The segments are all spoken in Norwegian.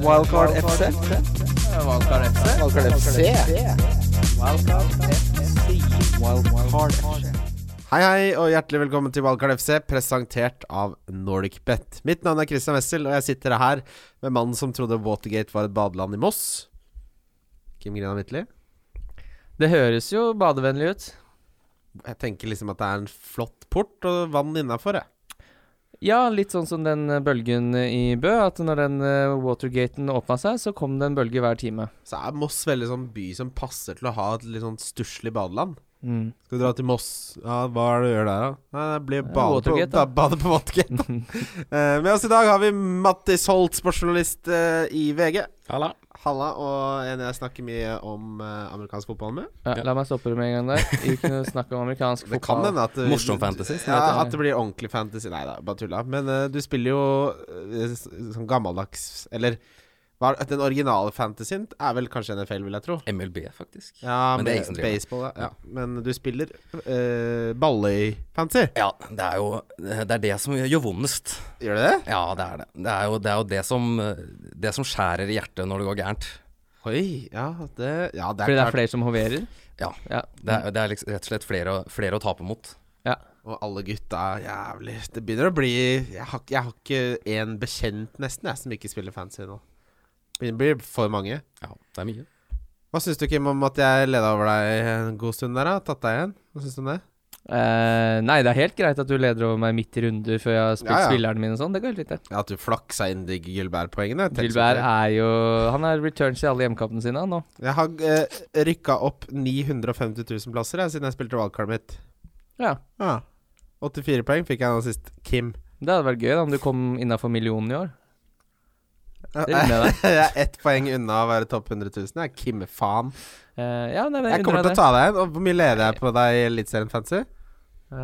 Wildcard FC. Valkar FC. Wildcard FC. Wildcard FC. Hei, hei, og hjertelig velkommen til Wildcard FC, presentert av NordicBet. Mitt navn er Christian Wessel, og jeg sitter her med mannen som trodde Watergate var et badeland i Moss. Kim Grena Mittli. Det høres jo badevennlig ut. Jeg tenker liksom at det er en flott port og vann innafor, jeg. Ja, litt sånn som den eh, bølgen i Bø, at når den eh, Watergaten åpna seg, så kom det en bølge hver time. Så er Moss veldig sånn by som passer til å ha et litt sånn stusslig badeland. Mm. Skal vi dra til Moss? Ja, hva er det du gjør der, da? Nei, det blir Ja, bade på, Watergate, da. da. bade på Watergate. Eh, med oss i dag har vi Mattis Holt, sportsjournalist eh, i VG. Halla. Halla, og en jeg snakker mye om eh, amerikansk fotball med. Ja, la meg stoppe det med en gang der. Ikke noe snakk om amerikansk Det kan fotball. hende at Morsom fantasy, som Ja, heter. at det blir ordentlig fantasy. Nei da, bare tulla. Men eh, du spiller jo eh, s- sånn gammeldags Eller hva, er- den originale fantasyen er vel kanskje NFL, vil jeg tro. MLB, faktisk. Ja, Men det er ingen som driver med. baseball, ja. ja. Men du spiller eh, Balløy-fantasy. Ja, det er jo det, er det som gjør vondest. Gjør du det? Ja, det er det. Det er jo det, er jo det, som, det som skjærer i hjertet når det går gærent. Oi, ja, det, ja, det er Fordi det klart. er flere som hoverer? Ja. Ja. Det er, det er liksom, rett og slett flere, å- flere å tape mot. ja. Og alle gutta er jævlig Det begynner å bli Jeg har, ikke- jeg har ikke én bekjent, nesten, jeg, som ikke spiller fancy nå. Det blir for mange. Ja, det er mye. Hva syns du, Kim, om at jeg leda over deg en god stund der? da? Tatt deg igjen? Hva syns du om det? Eh, nei, det er helt greit at du leder over meg midt i runder før jeg har spilt Ja, ja. spillerne mine og sånn. Det går helt fint, det. Ja, At du flaksa inn de Gilbert-poengene? Tenk så Gilbert det. er jo Han er returns i alle hjemkampene sine han, nå. Jeg har eh, rykka opp 950 000 plasser jeg, siden jeg spilte valgkartet mitt. Ja. Ja. 84 poeng fikk jeg nå sist. Kim. Det hadde vært gøy da om du kom innafor millionen i år. Det Jeg unner jeg deg. er ett poeng unna å være topp 100 000. Jeg er Kim-faen. Eh, ja, nei, men Jeg kommer til å unner deg ta deg igjen. Og Hvor mye leder jeg på deg i Eliteserien Fancy? det.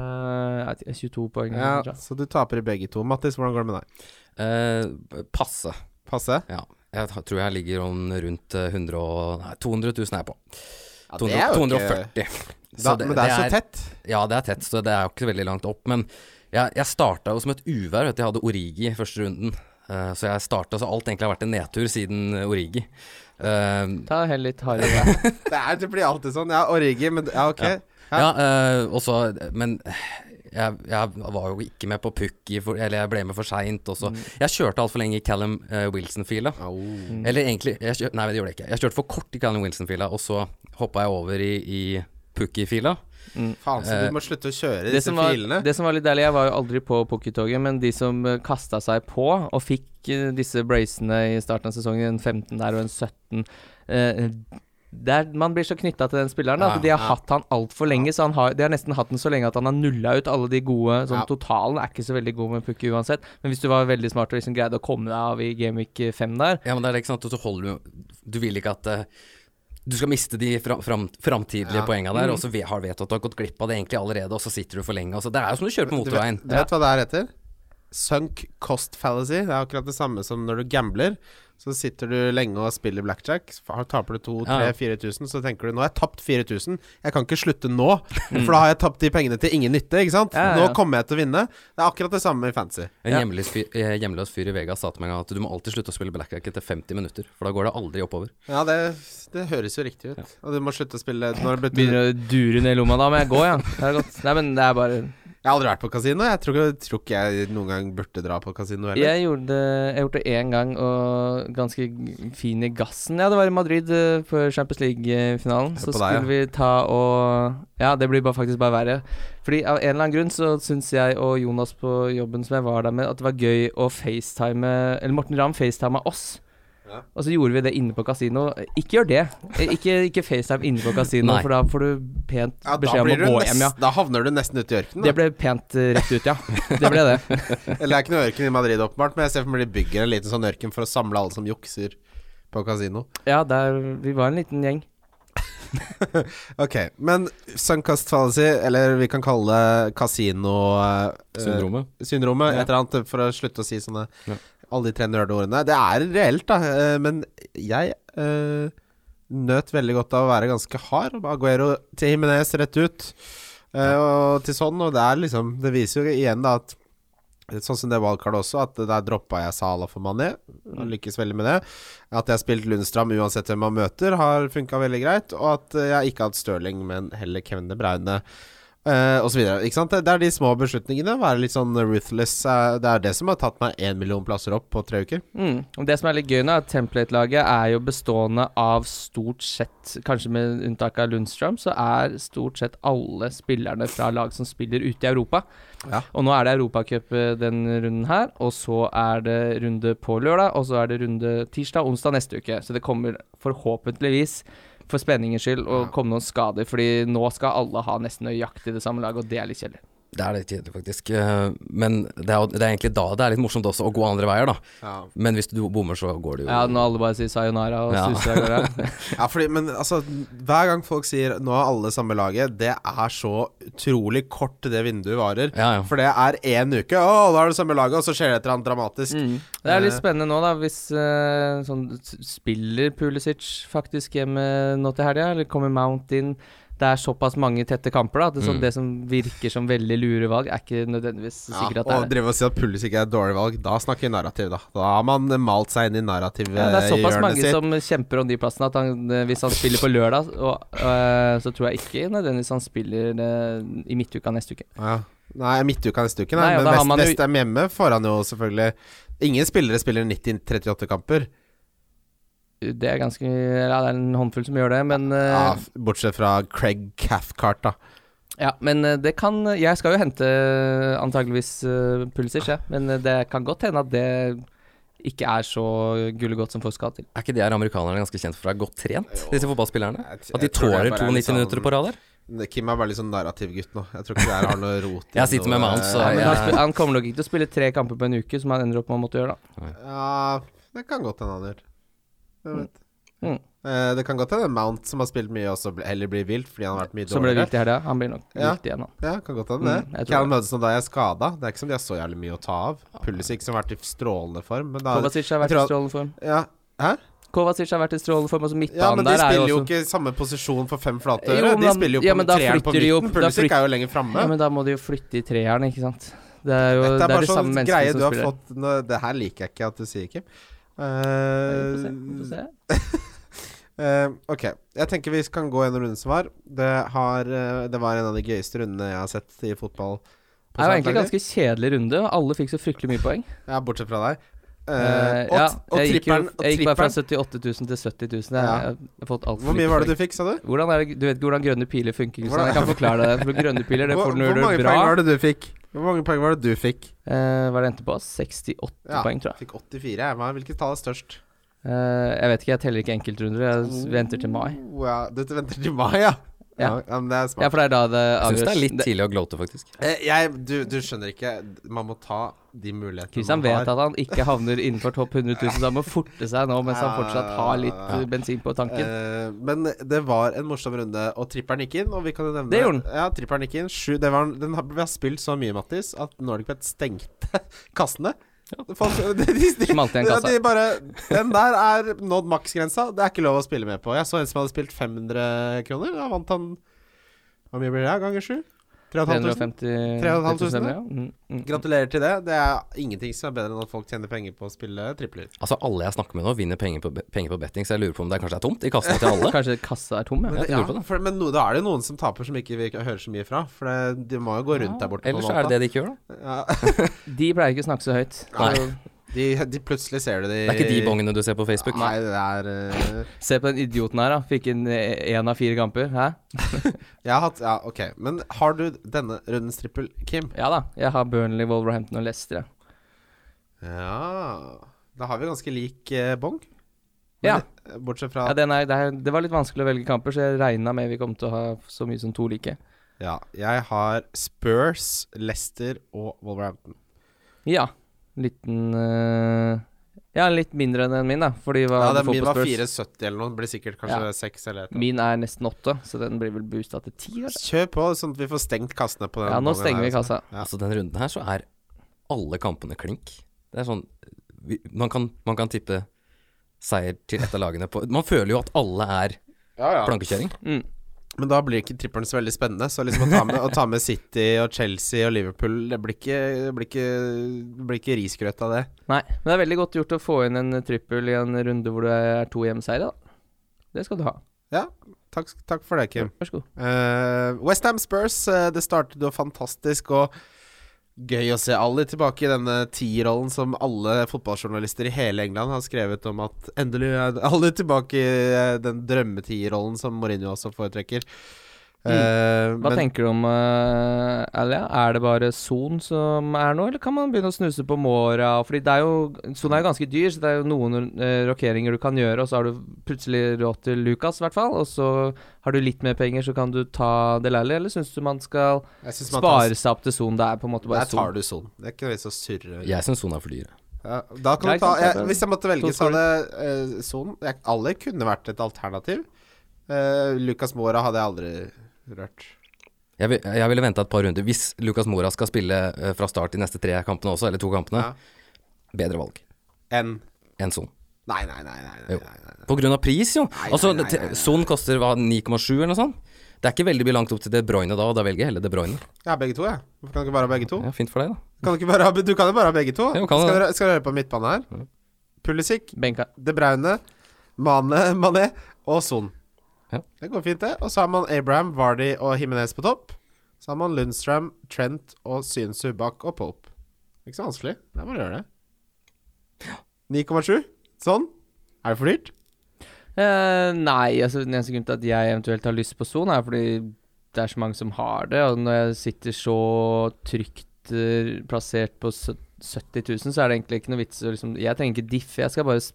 Eh, 22 poeng. eller Ja, noe sånt, så du taper i begge to. Mattis, hvordan går det med deg? Eh, passe. Passe? Ja. Jeg t- tror jeg ligger om rundt eh, 100 og, nei, 200 000 er jeg på. Ja, 200, 240. Da, men det er så tett. Ja, det er tett, så det er jo ikke veldig langt opp. Men jeg, jeg starta jo som et uvær. Vet du. Jeg hadde Origi i første runden. Eh, så jeg starta så alt egentlig har vært en nedtur siden eh, Origi. Eh, ja. Ta heller litt hardere. Det, er, det blir alltid sånn. Ja, Origi, men Ja, ok. ja, eh, og så Men jeg, jeg var jo ikke med på Pukki, for- eller jeg ble med for seint. Jeg kjørte altfor lenge i Callum eh, Wilson-fila. Au. Eller egentlig jeg kjør, Nei, det gjorde jeg ikke. Jeg kjørte for kort i Callum Wilson-fila, og så hoppa jeg over i, i Pukki-fila. Faen, så du må slutte å kjøre Det disse som, var, filene. det som var litt deilig, jeg var jo aldri på Pocket-toget, men de som kasta seg på og fikk eh, disse bracene i starten av sesongen, en 15 der og en 17 eh, der, Man blir så knytta til den spilleren da, at de har hatt han altfor lenge. Så han har, de har nesten hatt den så lenge at han har nulla ut alle de gode sånn Ja. Totalen er ikke så veldig god med Pukki uansett, men hvis du var veldig smart og liksom greide å komme deg av i Gameweek 5 der, Ja, men det er ikke sant, og så holder du Du vil ikke at eh, du skal miste de fra, fram, framtidige Ja. Mm. poengene der, og så ve- har du vet at du har gått glipp av det egentlig allerede, og så sitter du for lenge. Altså, det er jo som du kjører på Du, vet, motorveien. du vet hva det her heter? Sunk cost fallacy. Det er akkurat det samme som når du gambler. Så sitter du lenge og spiller blackjack. Fa- Taper du Ja, ja. 2000-4000, så tenker du nå har jeg tapt 4000. Jeg kan ikke slutte nå, for da har jeg tapt de pengene til ingen nytte. Ikke sant? Ja, ja, ja. Nå kommer jeg til å vinne. Det er akkurat det samme i fancy. En hjemløs fyr, eh, hjemløs fyr i Vegas sa til meg en gang at du må alltid slutte å spille blackjack etter 50 minutter, for da går det aldri oppover. Ja, det, det høres jo riktig ut. Og du må slutte å spille når det betyr begynner å dure ned i lomma. Da må jeg gå, ja. Det er godt. Nei, men det er bare Jeg har aldri vært på kasino. Jeg tror, ikke- tror ikke jeg noen gang burde dra på kasino heller. Jeg gjorde det Jeg har gjort det én gang, og ganske g- fin i gassen. Ja, det var i Madrid eh, på Champions League-finalen. Hør Så på deg, skulle ja. vi ta og Ja, det blir bare faktisk bare verre. Fordi av en eller annen grunn så syns jeg og Jonas på jobben som jeg var der med, at det var gøy å facetime Eller Morten Ramm facetima oss. Og så gjorde vi det inne på kasino. Ikke gjør det. Eh, Ikke, ikke FaceTime inne på kasino, Nei. for da får du pent Ja, da, beskjed om å blir du gå nest, hjem, ja. da havner du nesten ute i ørkenen. Det da. ble pent eh, rett ut, ja. Det ble det. Eller det er ikke noe ørken i Madrid, åpenbart, men jeg ser for meg de bygger en liten sånn ørken for å samle alle som jukser på kasino. Ja, der, vi var en liten gjeng. Ok, men sunkast fallacy, eller vi kan kalle det eh, kasino-syndromet, Syndromet. et eller annet, for å slutte å si sånne alle de tre nerdeordene. Det er reelt, da, eh, men jeg eh, nøt veldig godt av å være ganske hard. Aguero til Himinez rett ut, eh, og til sånn, og det er liksom Det viser jo igjen da at Sånn som det wildcardet også, at der droppa jeg Sala for Mané. Jeg Lykkes veldig med det. At jeg har spilt Lundstram uansett hvem man møter, har funka veldig greit. Og at eh, jeg ikke har hatt Stirling, men heller Kevin De Bruyne. eh, og så videre, ikke sant? Det- Det er de små beslutningene. Være litt sånn ruthless. eh, det er det som har tatt meg én million plasser opp på tre uker. Mm. Og Det som er litt gøy nå, er at template-laget er jo bestående av stort sett, kanskje med unntak av Lundstrøm, så er stort sett alle spillerne fra lag som spiller ute i Europa. Ja. Og nå er det Europacup eh, den runden her, og så er det runde på lørdag, og så er det runde tirsdag, onsdag neste uke. Så det kommer forhåpentligvis, for spenningens skyld, å Ja. komme noen skader, fordi nå skal alle ha nesten nøyaktig det samme laget, og det er litt kjedelig. Det er litt kjedelig, faktisk. Eh, Men det er, jo- det er egentlig da det er litt morsomt også å gå andre veier, da. Ja. Men hvis du bommer, så går det jo Ja, når alle bare sier sayonara og Ja. suser av gårde. Ja, fordi, men altså, hver gang folk sier 'nå er alle samme laget', det er så utrolig kort det vinduet varer. Ja, ja. For det er én uke, å, da er det samme laget, og så skjer det et eller annet dramatisk. Mm, Det er litt Eh. spennende nå, da, hvis eh, sånn, s- spiller Pulisic faktisk hjemme nå til helga, eller kommer Mount inn. Det er såpass mange tette kamper da, at det, sånn, Mm. det som virker som veldig lure valg, er ikke nødvendigvis sikkert at det og er det. drive og si at Pullis ikke er et dårlig valg, da snakker vi narrativ, da. Da har man malt seg inn i narrativet Ja, det er i såpass hjørnet mange sitt. som kjemper om de plassene at han, eh, hvis han spiller på lørdag, og, eh, så tror jeg ikke nødvendigvis han spiller eh, i midtuka neste uke. Ja. Nei, midtuka neste uke, nei. Nei, men og da har West, man jo- Westham hjemme får han jo selvfølgelig Ingen spillere spiller 90-38 kamper, Det er ganske Ja, det er en håndfull som gjør det, men eh, ja, f- bortsett fra Craig Cathcart, da. Ja, men eh, det kan Jeg skal jo hente eh, antageligvis eh, Pulisic, jeg. Men eh, det kan godt hende at det ikke er så gullegodt som folk skal ha til. Er ikke de her amerikanerne ganske kjent for å være godt trent, disse fotballspillerne? Jeg t- At de jeg tror det tåler bare er 92 litt minutter sånn- på rad der? Kim er bare litt sånn narrativgutt nå. Jeg tror ikke det her har noe rot i Jeg sitter med noe- Mount, så Ja, men jeg- han, sp- han kommer nok ikke til å spille tre kamper på en uke, som han ender opp med å måtte gjøre, da. Ja, det kan godt hende han gjør. Hvem vet. Mm. Eh, Det kan godt hende Mount, som har spilt mye, også ble- heller blir vilt fordi han har vært mye Som ble dårligere. vilt i helga. Han blir nok Ja. vilt igjen, han. Ja, kan godt hende det. Mm, jeg tror Callum det. Hudson og da er skada. Det er ikke som de har så jævlig mye å ta av. Pulisic som har vært i strålende form. Men da, Kovacic har jeg vært i tror- strålende form. ja, hæ? Kovacic har vært i strålende form, og så ja, men midtbanen de der er jo spiller jo også ikke samme posisjon for fem flate Jo, øre. men De da- spiller jo på ja, men da treeren på flytter de jo- midten. da Pulisic flyt- er jo lenger framme. Ja, men da må de jo flytte i treeren, ikke sant. Det er jo Dette er det, er bare de samme sånn menneskene greie som du har spiller. fått nå, Det her liker jeg ikke at du sier, Kim. Eh, Ja, vi får se, vi får se. Eh, ok, jeg tenker vi kan gå gjennom runden som var. Det, har, eh, det var en av de gøyeste rundene jeg har sett i fotball. på Det er jo egentlig samtlaget. ganske kjedelig runde, og alle fikk så fryktelig mye poeng. Ja, bortsett fra deg. Eh, Eh, og ja, og jeg gikk, jo, tripperen, og jeg gikk bare fra tripperen. 78 000 til 70 000. Jeg, Ja. jeg, har fått alt for Hvor mye var det du fikk, sa du? Hvordan er det, du vet ikke hvordan grønne piler funker, Kristian. Jeg kan forklare deg. For grønne piler, det Hvor, får du hvor når du mange er bra. poeng var det du fikk? Hvor mange poeng var det du fikk? Eh, hva er det endte på? 68 Ja. poeng, tror jeg. Fikk 84. Jeg. Hva- Hvilket tall er størst? Eh, jeg vet ikke, jeg teller ikke enkeltrunder. Jeg s- venter til mai. Oh, ja. Du venter til mai, ja? Ja. men det er Ja, smart. for det er da det Jeg syns det er avgjøres. litt tidlig å gloate, faktisk. Eh, jeg, du, du skjønner ikke. Man må ta de mulighetene Kristian man vet har. at han ikke havner innenfor topp 100 000, så han må forte seg nå mens Ja, han fortsatt har litt ja, ja. eh, bensin på tanken. Eh, men det var en morsom runde, og tripperen gikk inn. Og vi kan jo nevne Det gjorde den. Ja, tripperen gikk inn. Sju, det var, den har, vi har spilt så mye, Mattis, at Nordic Bet stengte kassene. Folk, de, de, de, Smalt igjen kassa. de bare Den der er nådd maksgrensa. Det er ikke lov å spille med på. Jeg så en som hadde spilt 500 kroner. Da vant han Hvor mye blir det? Ganger sju? 3500? 350 3500, ja. Mm, mm. Gratulerer til det. Det er ingenting som er bedre enn at folk tjener penger på å spille tripler. Altså, alle jeg snakker med nå, vinner penger på, be- penger på betting, så jeg lurer på om det kanskje er tomt i kassene til alle. Kanskje kassa er tom, ja. Men, det, jeg lurer på ja, for, men no, da er det jo noen som taper, som ikke vi ikke hører så mye fra. For det, de må jo gå rundt der borte. på Ellers en så er det måte. det de ikke gjør, da. Ja. De pleier ikke å snakke så høyt. Nei. Så De, de plutselig ser du de Det er ikke de bongene du ser på Facebook. Eh, Nei, det er eh, Se på den idioten her, da. Fikk inn én av fire kamper. Hæ? Jeg har hatt Ja, ok. Men har du denne rundens trippel, Kim? Ja da. Jeg har Burnley, Wolverhampton og Leicester. jeg. Ja Da har vi ganske lik eh, bong. Ja. eh, Bortsett fra Ja, den er, det, er, det var litt vanskelig å velge kamper, så jeg regna med vi kom til å ha så mye som to like. Ja. Jeg har Spurs, Leicester og Wolverhampton. Ja. Liten eh, Ja, litt mindre enn min, da. Fordi hva Ja, du den får min på var Spurs. 4,70 eller noe. Blir sikkert Ja. kanskje 6 eller et eller Min er nesten åtte, så den blir vel boosta til ti. annet. kanskje? Kjør på, sånn at vi får stengt kassene på den. Ja, nå bongen stenger her, vi altså. kassa. Ja. Altså, denne runden her så er alle kampene klink. Det er sånn vi, man, kan, man kan tippe seier til et av lagene på Man føler jo at alle er Ja, ja. plankekjøring. Mm. Men da blir ikke trippelen så veldig spennende. Så liksom å ta med, å ta med City og Chelsea og Liverpool Det blir ikke, det blir ikke, det blir ikke risgrøt av det. Nei, men det er veldig godt gjort å få inn en trippel i en runde hvor det er to hjemseire, da. Det skal du ha. Takk, takk for det, Kim. Vær så god. Uh, Westham Spurs, eh, det startet jo fantastisk og gøy å se Ali tilbake i denne tierrollen som alle fotballjournalister i hele England har skrevet om at endelig er Ali tilbake i eh, den drømmetierrollen som Mourinho også foretrekker. Eh, Mm. Hva men- tenker du om eh, Alia? Er det bare Son som er nå, eller kan man begynne å snuse på Mora? Fordi det er jo Son er jo ganske dyr, så det er jo noen eh, rokeringer du kan gjøre, og så har du plutselig råd til Lucas, i hvert fall. Og så har du litt mer penger, så kan du ta Del Alli, eller syns du man skal Jeg synes man tar- spare seg opp til Son? Det er på en måte bare Der tar Son. du Son. Det er ikke noe vits å surre. Jeg syns Son er for dyr. Ja, da kan Nei, du ta ikke sant, jeg, det- Hvis jeg måtte to velge, så hadde eh, Son jeg, Ali kunne vært et alternativ. Eh, Lucas Mora hadde jeg aldri rørt. Jeg, vil, jeg ville venta et par runder. Hvis Lucas Mora skal spille eh, fra start de neste tre kampene også, eller to kampene, Ja. bedre valg Enn enn Son. Nei, nei, nei. nei, nei, Jo. nei, nei. På grunn av pris, jo. Nei, Altså, nei, nei, nei, nei. Son koster hva, 9,7 eller noe sånt. Det er ikke veldig mye langt opp til De Bruyne da, og da velger jeg heller De Bruyne. Jeg har begge to, jeg. Hvorfor kan du ikke bare ha begge to? Ja, fint for deg, da. Kan du, ikke bare ha, du kan jo bare ha begge to. Jo, kan skal, det. dere, skal dere høre på midtbane her? Pulisic, Benka. De Braune, Mane, Mané og Son. Ja. Det går fint, det. Og så har man Abraham, Vardy og Himinez på topp. Så har man Lundstrøm, Trent og Synsu bak og Pope. Ikke så vanskelig. Det er bare å gjøre det. 9,7. Sånn. Er det for dyrt? Eh, nei, altså den eneste grunnen til at jeg eventuelt har lyst på Son, er fordi det er så mange som har det. Og når jeg sitter så trygt eh, plassert på sø- 70 000, så er det egentlig ikke noe vits å liksom Jeg trenger ikke diffe, jeg skal bare s-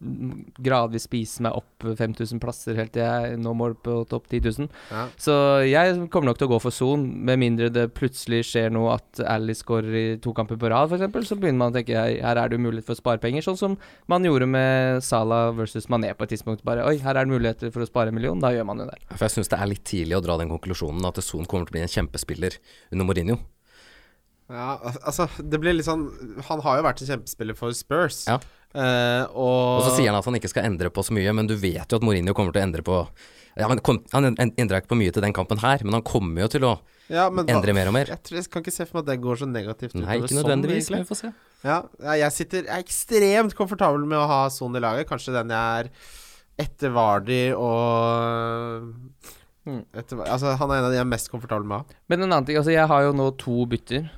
gradvis spise meg opp 5000 plasser helt til jeg når mål på topp 10 000. Ja. Så jeg kommer nok til å gå for Son, med mindre det plutselig skjer noe at Ally scorer i to kamper på rad, f.eks., så begynner man å tenke her, her er det jo mulighet for å spare penger, sånn som man gjorde med Salah versus Mané på et tidspunkt. Bare oi, her er det muligheter for å spare en million, da gjør man jo det. For jeg syns det er litt tidlig å dra den konklusjonen at Son kommer til å bli en kjempespiller under Mourinho. Ja, al- altså Det blir litt sånn Han har jo vært en kjempespiller for Spurs. Ja. Eh, Og og, så sier han at han ikke skal endre på så mye, men du vet jo at Mourinho kommer til å endre på ja, Han, kom, han en- endra ikke på mye til den kampen her, men han kommer jo til å ja, men hva- endre mer og mer. Jeg, tror, jeg kan ikke se for meg at det går så negativt Nei, utover ikke sånn, nødvendigvis, men egentlig. vi får se. Ja, nei, jeg sitter jeg er ekstremt komfortabel med å ha Son i laget. Kanskje den jeg er etter Vardy og Mm. etter, Altså, han er en av de jeg er mest komfortabel med å ha. Men en annen ting, altså jeg har jo nå to bytter.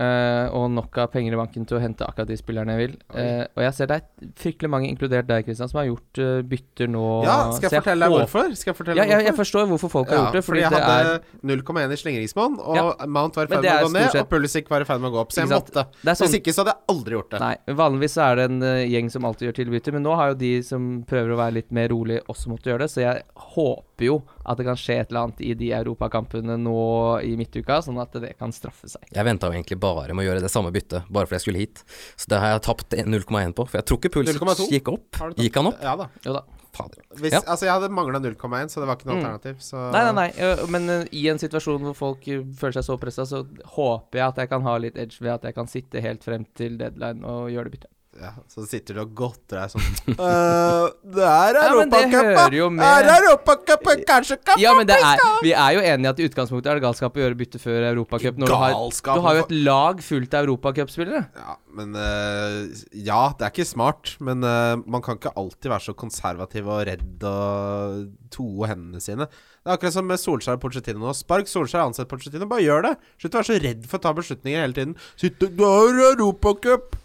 eh, og nok av penger i banken til å hente akkurat de spillerne jeg vil. Oi. Eh, og jeg ser det er fryktelig mange, inkludert deg, Kristian, som har gjort eh, bytter nå. Ja, skal Så jeg fortelle deg håper- hvorfor? Skal jeg fortelle Ja, deg jeg, jeg hvorfor? forstår hvorfor folk har Ja, gjort det. Fordi, jeg det er hadde 0,1 i slingringsmonn, og Ja. Mount var i Men ferd det med å gå er stort ned, sett- og Pulisic var i ferd med å gå opp, så jeg Ikke sant? måtte. Det er sånn, Hvis ikke så hadde jeg aldri gjort det. nei, Vanligvis så er det en eh, gjeng som alltid gjør tilbytter, men nå har jo de som prøver å være litt mer rolig, også måttet gjøre det. Så jeg håper jo at det kan skje et eller annet i de europakampene nå i midtuka, sånn at det kan straffe seg. Jeg venta jo egentlig bare med å gjøre det samme byttet, bare fordi jeg skulle hit. Så det har jeg tapt 0,1 på, for jeg tror ikke Puls 0,2. gikk opp. Har du tatt- Gikk han opp? Ja da. Jo da. Fader. Hvis, Ja. Altså, jeg hadde mangla 0,1, så det var ikke noe alternativ. Så Mm. Nei, nei, nei. eh, Men eh, i en situasjon hvor folk eh, føler seg så pressa, så håper jeg at jeg kan ha litt edge ved at jeg kan sitte helt frem til deadline og gjøre det byttet. Ja, så sitter du og godter deg sånn «Øh, Det er Ja, men det hører jo med. Europacupen! Kanskje kan Ja, men det er, vi er jo enige at i utgangspunktet er det galskap å gjøre bytte før Europacup. Når du har, Galskap, du har jo hvorfor- et lag fullt av europacupspillere. Ja, men øh, Ja, det er ikke smart, men øh, man kan ikke alltid være så konservativ og redd og toe hendene sine. Det er akkurat som med Solskjær og Pochettino nå. Spark Solskjær, ansett Pochettino. Bare gjør det! Slutt å være så redd for å ta beslutninger hele tiden. Sitt og Du har Europacup!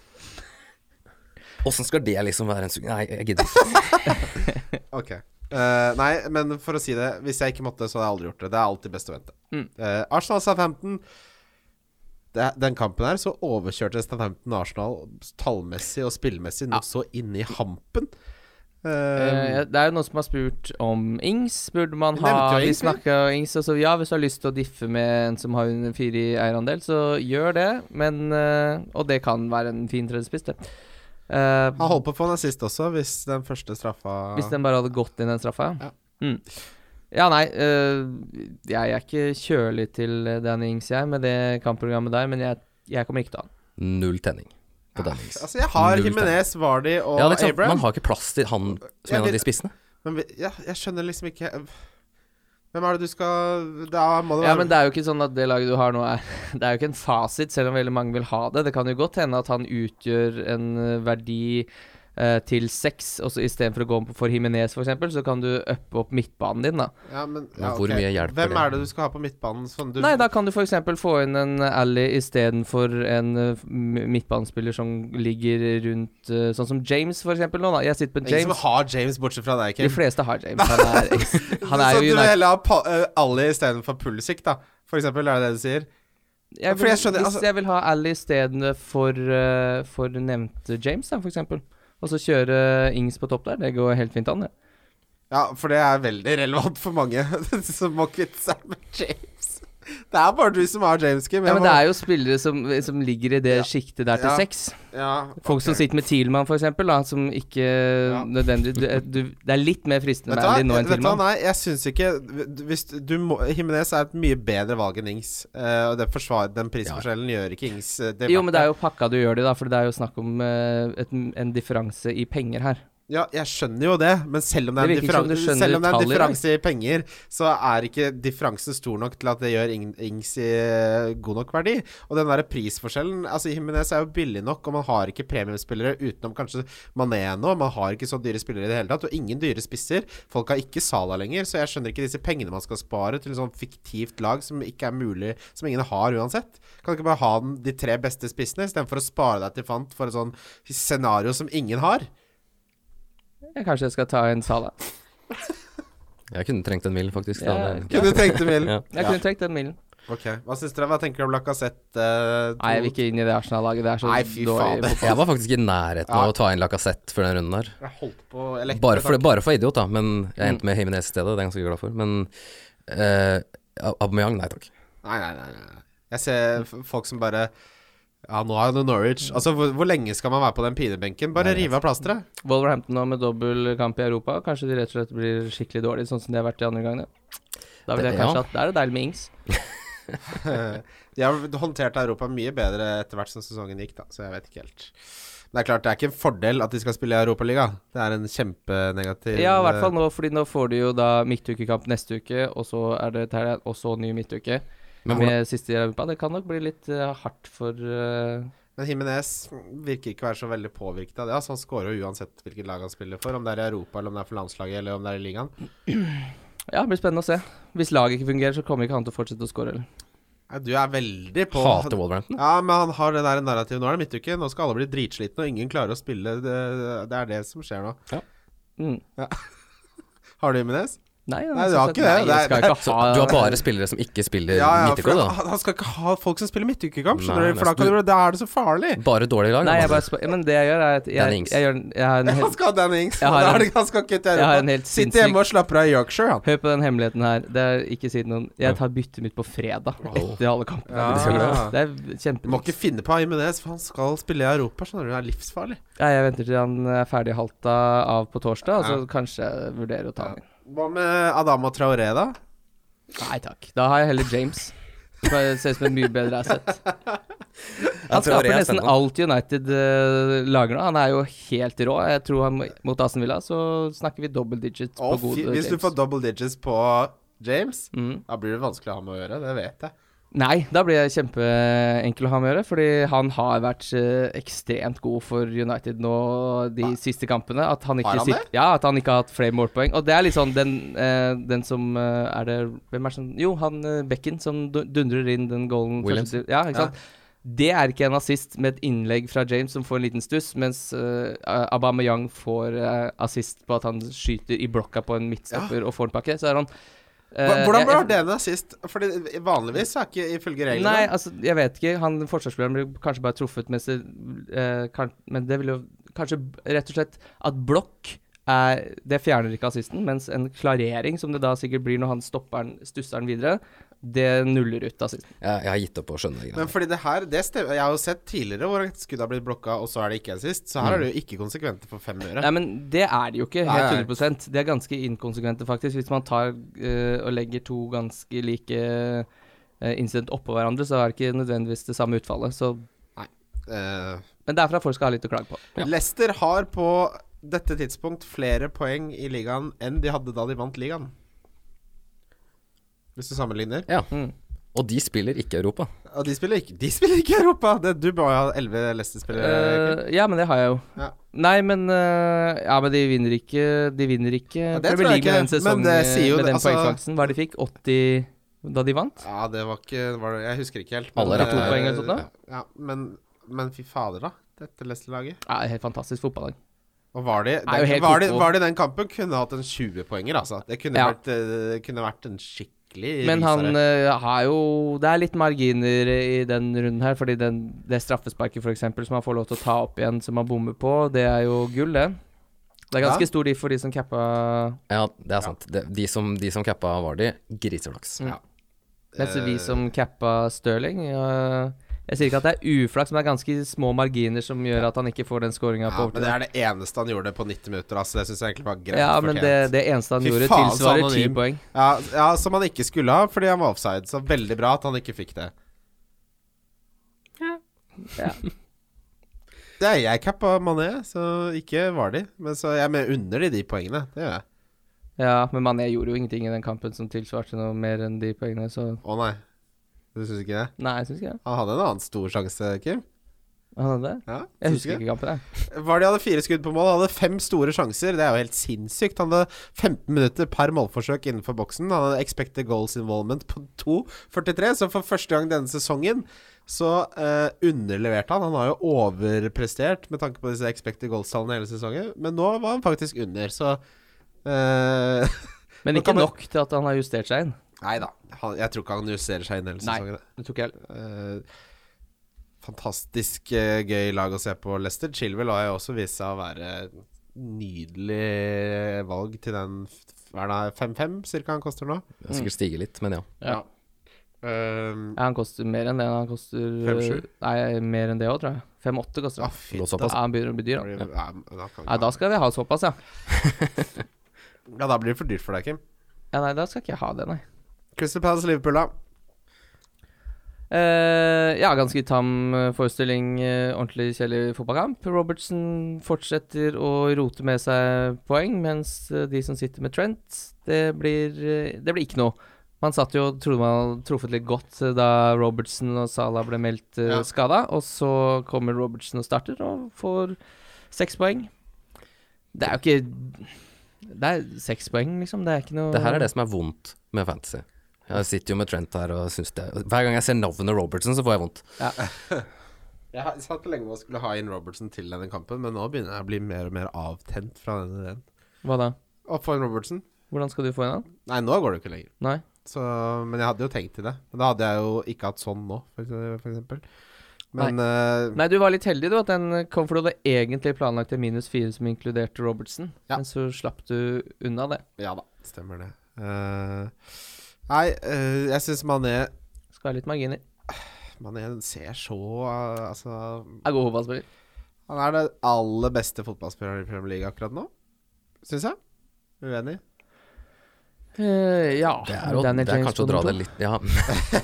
Åssen skal det liksom være en sug... Nei, jeg gidder ikke. Ok. Eh, nei, men for å si det, hvis jeg ikke måtte, så hadde jeg aldri gjort det. Det er alltid best å vente. Mm. Eh, Arsenal Southampton det, Den kampen her så overkjørte Southampton Arsenal tallmessig og spillmessig noe så inni hampen. Eh, Eh, det er jo noen som har spurt om Ings. Burde man Vi ha nevnte jo Vi Ings, vi. snakka om Ings. Og så ja, hvis du har lyst til å diffe med en som har en fire i eierandel, så gjør det. Men eh, Og det kan være en fin tredjespiss, det. Eh, han holdt på å få en assist også, hvis den første straffa hvis den bare hadde gått inn den straffa, ja. Ja. Mm. Ja, nei eh, Jeg er ikke kjølig til Danny Ings, jeg, med det kampprogrammet der, men jeg, jeg kommer ikke til å ha han. Null tenning på Dennings. Altså, jeg har Null Jimenez, Vardy og Ja, det er ikke sant. Abraham. Man har ikke plass til han som Jeg en av vil- de spissene. Men vi, ja, jeg skjønner liksom ikke Hvem er det du skal Da må det være Ja, men det er jo ikke sånn at det laget du har nå er Det er jo ikke en fasit, selv om veldig mange vil ha det. Det kan jo godt hende at han utgjør en eh, verdi eh, til seks, og så istedenfor å gå for Himinez f.eks., så kan du uppe opp midtbanen din, da. Ja, men, Men ja, hvor ok. mye hjelper Hvem det? er det du skal ha på midtbanen? Sånn, du, Nei, da kan du f.eks. få inn en Ally istedenfor en eh, m- midtbanespiller som ligger rundt eh, Sånn som James, f.eks. nå, da. Jeg sitter på Ingen som James. har James, bortsett fra deg, De Kim. fleste har James. Han er, så han er jo Sånn, du vil United. heller ha pa uh, Ali istedenfor Pulisic, da? For eksempel, er det det du sier? Jeg For vil, jeg skjønner, hvis altså- jeg vil ha Ally istedenfor uh, for nevnte James, da, f.eks., og så kjøre Ings på topp der, det går helt fint an, det. Ja, for det er veldig relevant for mange som må kvitte seg med James. Det er bare du som har James, Kim. Ja, Jeg men må- det er jo spillere som, som ligger i det sjiktet der til Ja. seks. ja, Folk som ok. sitter med Thielmann, for eksempel, da, som ikke nødvendig du, eh, du, Det er litt mer fristende Vet med du hva? Ally nå enn Vet du hva? Thielmann. Nei, jeg syns ikke hvis du må, Jimenez er et mye bedre valg enn Ings. eh, og det forsvar, den prisforskjellen gjør ikke Ings eh, det Jo, men det er jo pakka du gjør det, da, for det er jo snakk om eh, et, en differanse i penger her. Ja, jeg skjønner jo det, men selv om det er, Det en, virker ikke som differan du skjønner selv om det er en detaljer, differanse i penger, så er ikke differansen stor nok til at det gjør Ing- Ings i eh, god nok verdi. Og den derre prisforskjellen Altså, Jimenez er jo billig nok, og man har ikke premiumspillere utenom kanskje Mané nå. Man har ikke så dyre spillere i det hele tatt, og ingen dyre spisser. Folk har ikke Sala lenger, så jeg skjønner ikke disse pengene man skal spare til et sånt fiktivt lag som ikke er mulig, som ingen har uansett. Kan du ikke bare ha den, de tre beste spissene, istedenfor å spare deg til fant for et sånn scenario som ingen har? Ja, Kanskje jeg skal ta en Sala. Jeg kunne trengt en mil, faktisk. Da. Ja, Det- Kunne du tenkt deg Milen? Ja. Jeg kunne trukket den milen. Ok, Hva syns dere? Hva tenker dere om Lacassette? eh, Nei, jeg vil ikke inn i det Arsenal-laget. Det er så Nei, fy dårlig fader. Jeg var faktisk i nærheten av Ja. å ta inn Lacassette for den runden her. Jeg holdt på jeg lekte Bare for, takk. Mm. bare for idiot, da. Men jeg endte med Jimenez i stedet. Det er jeg ganske glad for. Men eh, Aubameyang, nei takk. Nei, nei, nei, nei. nei. Jeg ser f- folk som bare Ja, nå er det Norwich. Altså, hvor, hvor lenge skal man være på den pinebenken? Bare rive av plasteret. Wolverhampton nå med dobbel kamp i Europa. Kanskje de rett og slett blir skikkelig dårlige, sånn som de har vært de andre gangene. Da vil jeg Det- kanskje ja. at Da er det deilig med Ings. De har håndtert Europa mye bedre etter hvert som sesongen gikk, da, så jeg vet ikke helt. Men det er klart, det er ikke en fordel at de skal spille i Europaligaen. Det er en kjempenegativ Ja, i hvert fall nå, fordi nå får de jo da midtukekamp neste uke, og så er det Terje, og så ny midtuke. Men hvordan, Med siste i Europa. Det kan nok bli litt eh, hardt for eh, Men Jimenez virker ikke å være så veldig påvirket av det. Altså, han scorer jo uansett hvilket lag han spiller for, om det er i Europa, eller om det er for landslaget, eller om det er i ligaen. Ja, det blir spennende å se. Hvis laget ikke fungerer, så kommer ikke han til å fortsette å skåre. Nei, Du er veldig på hater Wolverhampton. Ja, men han har det der narrativet. Nå er det midtuke, nå skal alle bli dritslitne, og ingen klarer å spille. Det, det er det som skjer nå. Mm. Har du Jimenez? Nei, Nei, du har ikke det. Nei, jeg Det skal er- ikke Så ha du har bare spillere som ikke Eh, spiller midtgå, for da? han, han skal ikke ha folk som spiller midtukekamp, skjønner Nei, du, for da, kan nesten. du, da er det så farlig. Bare dårlige lag? Nei, jeg altså. bare spør. Ja, men det jeg gjør, er at Den er jeg, Ings. jeg, gjør, jeg har en hel- Han skal ha Dan Ings, Jeg og har da er en- det- han skal ikke til jeg har en Europa. helt Sitt sinnssyk- hjemme og slapper av i Yorkshire, han. Hør på den hemmeligheten her. Det er ikke si noen Jeg tar byttet mitt på fredag etter alle kampene. Ja. Det er Du må ikke kjempetriks. finne på Jimenez, for han skal spille i Europa, skjønner du. Det er livsfarlig. Ja, jeg venter til han er ferdig halta av på torsdag, og så kanskje jeg vurderer å ta han inn. Hva med Adama Traoré, da? Nei takk. Da har jeg heller James. Det Ser ut som en mye bedre asset. Ja, Han skaper Traoré er nesten spennende. alt United eh, lager nå. Han er jo helt rå. Jeg tror han mot Aston Villa så snakker vi double digits på Å, god fy- eh, hvis du får James. double digits på James, Mm. da blir det vanskelig å ha med å gjøre. Det vet jeg. Nei, da blir jeg kjempeenkel å ha med å gjøre, fordi han har vært eh, ekstremt god for United nå de siste kampene. At han ikke Ah. Har han det? sit- Ja, at han ikke har hatt flere målpoeng. Og det er litt sånn den, eh, den som eh, Er det Hvem er det som Jo, han eh, Bekken som du- dundrer inn den goalen. Williams. første til- Ja, ikke Ja. sant? Det er ikke en assist med et innlegg fra James som får en liten stuss, mens eh, Aubameyang får eh, assist på at han skyter i blokka på en midtstopper og får en pakke. Så er han eh, Hva- Hvordan jeg- ble det med sist? Fordi vanligvis er ikke ifølge reglene Nei, altså, jeg vet ikke. Han forsvarsspilleren blir kanskje bare truffet mens det eh, kan, Men det vil jo kanskje b- rett og slett At blokk er Det fjerner ikke assisten, mens en klarering, som det da sikkert blir når han stopper den, stusser den videre, det nuller ut assisten. Jeg, jeg har gitt opp å skjønne det. Men greiene. fordi det her det stem- Jeg har jo sett tidligere hvor et skudd har blitt blokka, og så er det ikke en sist. Så her er det Mm. jo ikke konsekvente for fem øre. Nei, men det er det jo ikke, Nei, nei. helt 100 Det er ganske inkonsekvente, faktisk. Hvis man tar eh, og legger to ganske like eh, incident oppå hverandre, så er det ikke nødvendigvis det samme utfallet. Så Eh, Men det er for at folk skal ha litt å klage på. Leicester har på dette tidspunkt flere poeng i ligaen enn de hadde da de vant ligaen. hvis du sammenligner. Ja. Mm. Og de spiller ikke Europa. Og de spiller ikke De spiller ikke i Europa! Det, du må jo ha elleve Leicester-spillere. Eh, ja, men det har jeg jo. Ja. Nei, men eh, Ja, men de vinner ikke De vinner ikke det tror jeg Premier League ikke, med den men sesongen det eh, sier jo med det, den altså- poengfangsten. Hva er det de fikk? 80 da de vant? ja, det var ikke var, det- Jeg husker ikke helt. Alle men, rakk to eh, poeng eller sånt da? Ja, men, men fy fader, da. Dette Leicester-laget. Ja, helt fantastisk fotballag. Og var de, jo helt var, de, koko. var de den kampen kunne hatt en 20-poenger, altså. Det kunne, Ja. vært, eh, kunne vært en skikkelig Men han rysere. eh, har jo Det er litt marginer i den runden her, fordi den, det straffesparket for eksempel, som han får lov til å ta opp igjen, som han bommer på, det er jo gull, det. Det er ganske Ja. stor de for de som cappa Ja, det er sant. De, de, som, de som cappa Vardy, griseflaks. Mm. Mens Eh. vi som cappa Stirling eh, Jeg sier ikke at det er uflaks, men det er ganske små marginer som gjør at han ikke får den skåringa ja, på Men det overtid. er det eneste han gjorde på 90 minutter, altså. Det syns jeg egentlig var greit Ja, men det, fortjent. det eneste han Fy gjorde, faen, så tilsvarer ti anonym. poeng. Ja, ja, som han ikke skulle ha, fordi han var offside. Så veldig bra at han ikke fikk det. Ja. Det er jeg cappa Mané, så ikke var de. Men så jeg med unner de de poengene. Det gjør jeg. Ja, men Mané gjorde jo ingenting i den kampen som tilsvarte noe mer enn de poengene, så Å nei. Du syns ikke det? Nei, jeg syns ikke det. Han hadde en annen stor sjanse, Kim. Han hadde det. Ja, Jeg syns husker ikke kampen, jeg. Vardy hadde fire skudd på mål, han hadde fem store sjanser. Det er jo helt sinnssykt. Han hadde 15 minutter per målforsøk innenfor boksen. Han hadde expected goals involvement på 2,43, så for første gang denne sesongen så eh, underleverte han. Han har jo overprestert med tanke på disse expected goals-tallene hele sesongen, men nå var han faktisk under, så eh, Men Nå ikke kan man- nok til at han har justert seg inn. Nei da. Han, jeg tror ikke han justerer seg inn hele Nei. sesongen. Det tok jeg helt. Eh, fantastisk eh, gøy lag å se på Leicester. Chilwell har jo også vist seg å være nydelig valg til den f- hva er det, 5-5 cirka han koster nå. Det har Mm. Sikkert stiger litt, men ja. Ja. Eh, Ja, han koster mer enn det. Han koster 5-7? Nei, mer enn det òg, tror jeg. 5-8 koster ah, han. fy, Lå Ja, såpass. han begynner å bli dyr, da blir- han. ja, men da kan Nei, ikke- da skal vi ha såpass, ja. ja, da blir det for dyrt for deg, Kim. Ja, nei, da skal ikke jeg ha det, nei. Crystal Palace Liverpool, da. Eh, ja, ganske tam eh, forestilling. eh, ordentlig kjedelig fotballkamp. Robertson fortsetter å rote med seg poeng, mens eh, de som sitter med Trent, det blir, eh, det blir ikke noe. Man satt jo og trodde man hadde truffet litt godt eh, da Robertson og Salah ble meldt eh, Ja. skada, og så kommer Robertson og starter og får seks poeng. Det er jo ikke Det er seks poeng, liksom. Det er ikke noe Det her er det som er vondt med fantasy. Jeg sitter jo med Trent her og syns det Hver gang jeg ser navnet Robertson, så får jeg vondt. Jeg har- jeg satt lenge og skulle ha inn Robertson til denne kampen, men nå begynner jeg å bli mer og mer avtent fra denne ideen. Hva da? Å få en Robertson? Hvordan skal du få en annen? Nei, nå går det jo ikke lenger. Nei? Så, men jeg hadde jo tenkt til det. Men da hadde jeg jo ikke hatt sånn nå, for ekse- for eksempel. Men eh, Nei, du var litt heldig du at den eh, kom, for du hadde egentlig planlagt en minus fire som inkluderte Robertson, Ja. men så slapp du unna det. ja da, stemmer det. Eh, nei, eh, jeg syns Mané Skal være litt marginer. Mané ser så eh, Altså Er god fotballspiller. Han er den aller beste fotballspilleren i Premier League akkurat nå, syns jeg. Uenig? Eh, ja. Det er, jo, Daniel det er James kanskje å på dra det nummer to. litt Ja,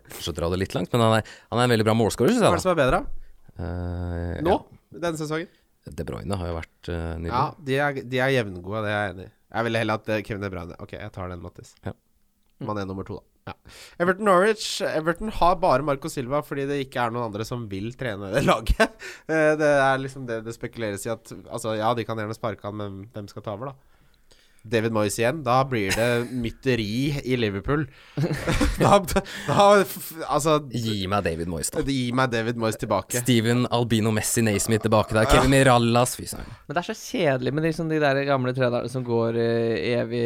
kanskje å dra det litt langt, men han er, han er en veldig bra målscorer, syns Hva er jeg. det som er bedre? da. Eh, Nå? Denne sesongen? Ja. De Bruyne har jo vært uh, nydelig. Ja, de er, de er jevngode, det er jeg enig i. Jeg ville heller hatt eh, Kevin De Bruyne. Ok, jeg tar den, Mattis. Mm. Ja. Man er nummer to, da. Ja. Everton Norwich. Everton har bare Marco Silva fordi det ikke er noen andre som vil trene det laget. Eh, Det er liksom det det spekuleres i at Altså, ja, de kan gjerne sparke han, men hvem skal ta over, da? David Moyes igjen. Da blir det mytteri i Liverpool. da, da f- Altså Gi meg David Moyes, da. Gi meg David Moyes tilbake. Steven Albino Messi Naismith tilbake der. Kevin Mirallas, fy søren. Men det er så kjedelig med liksom de der gamle trenerne som går eh, evig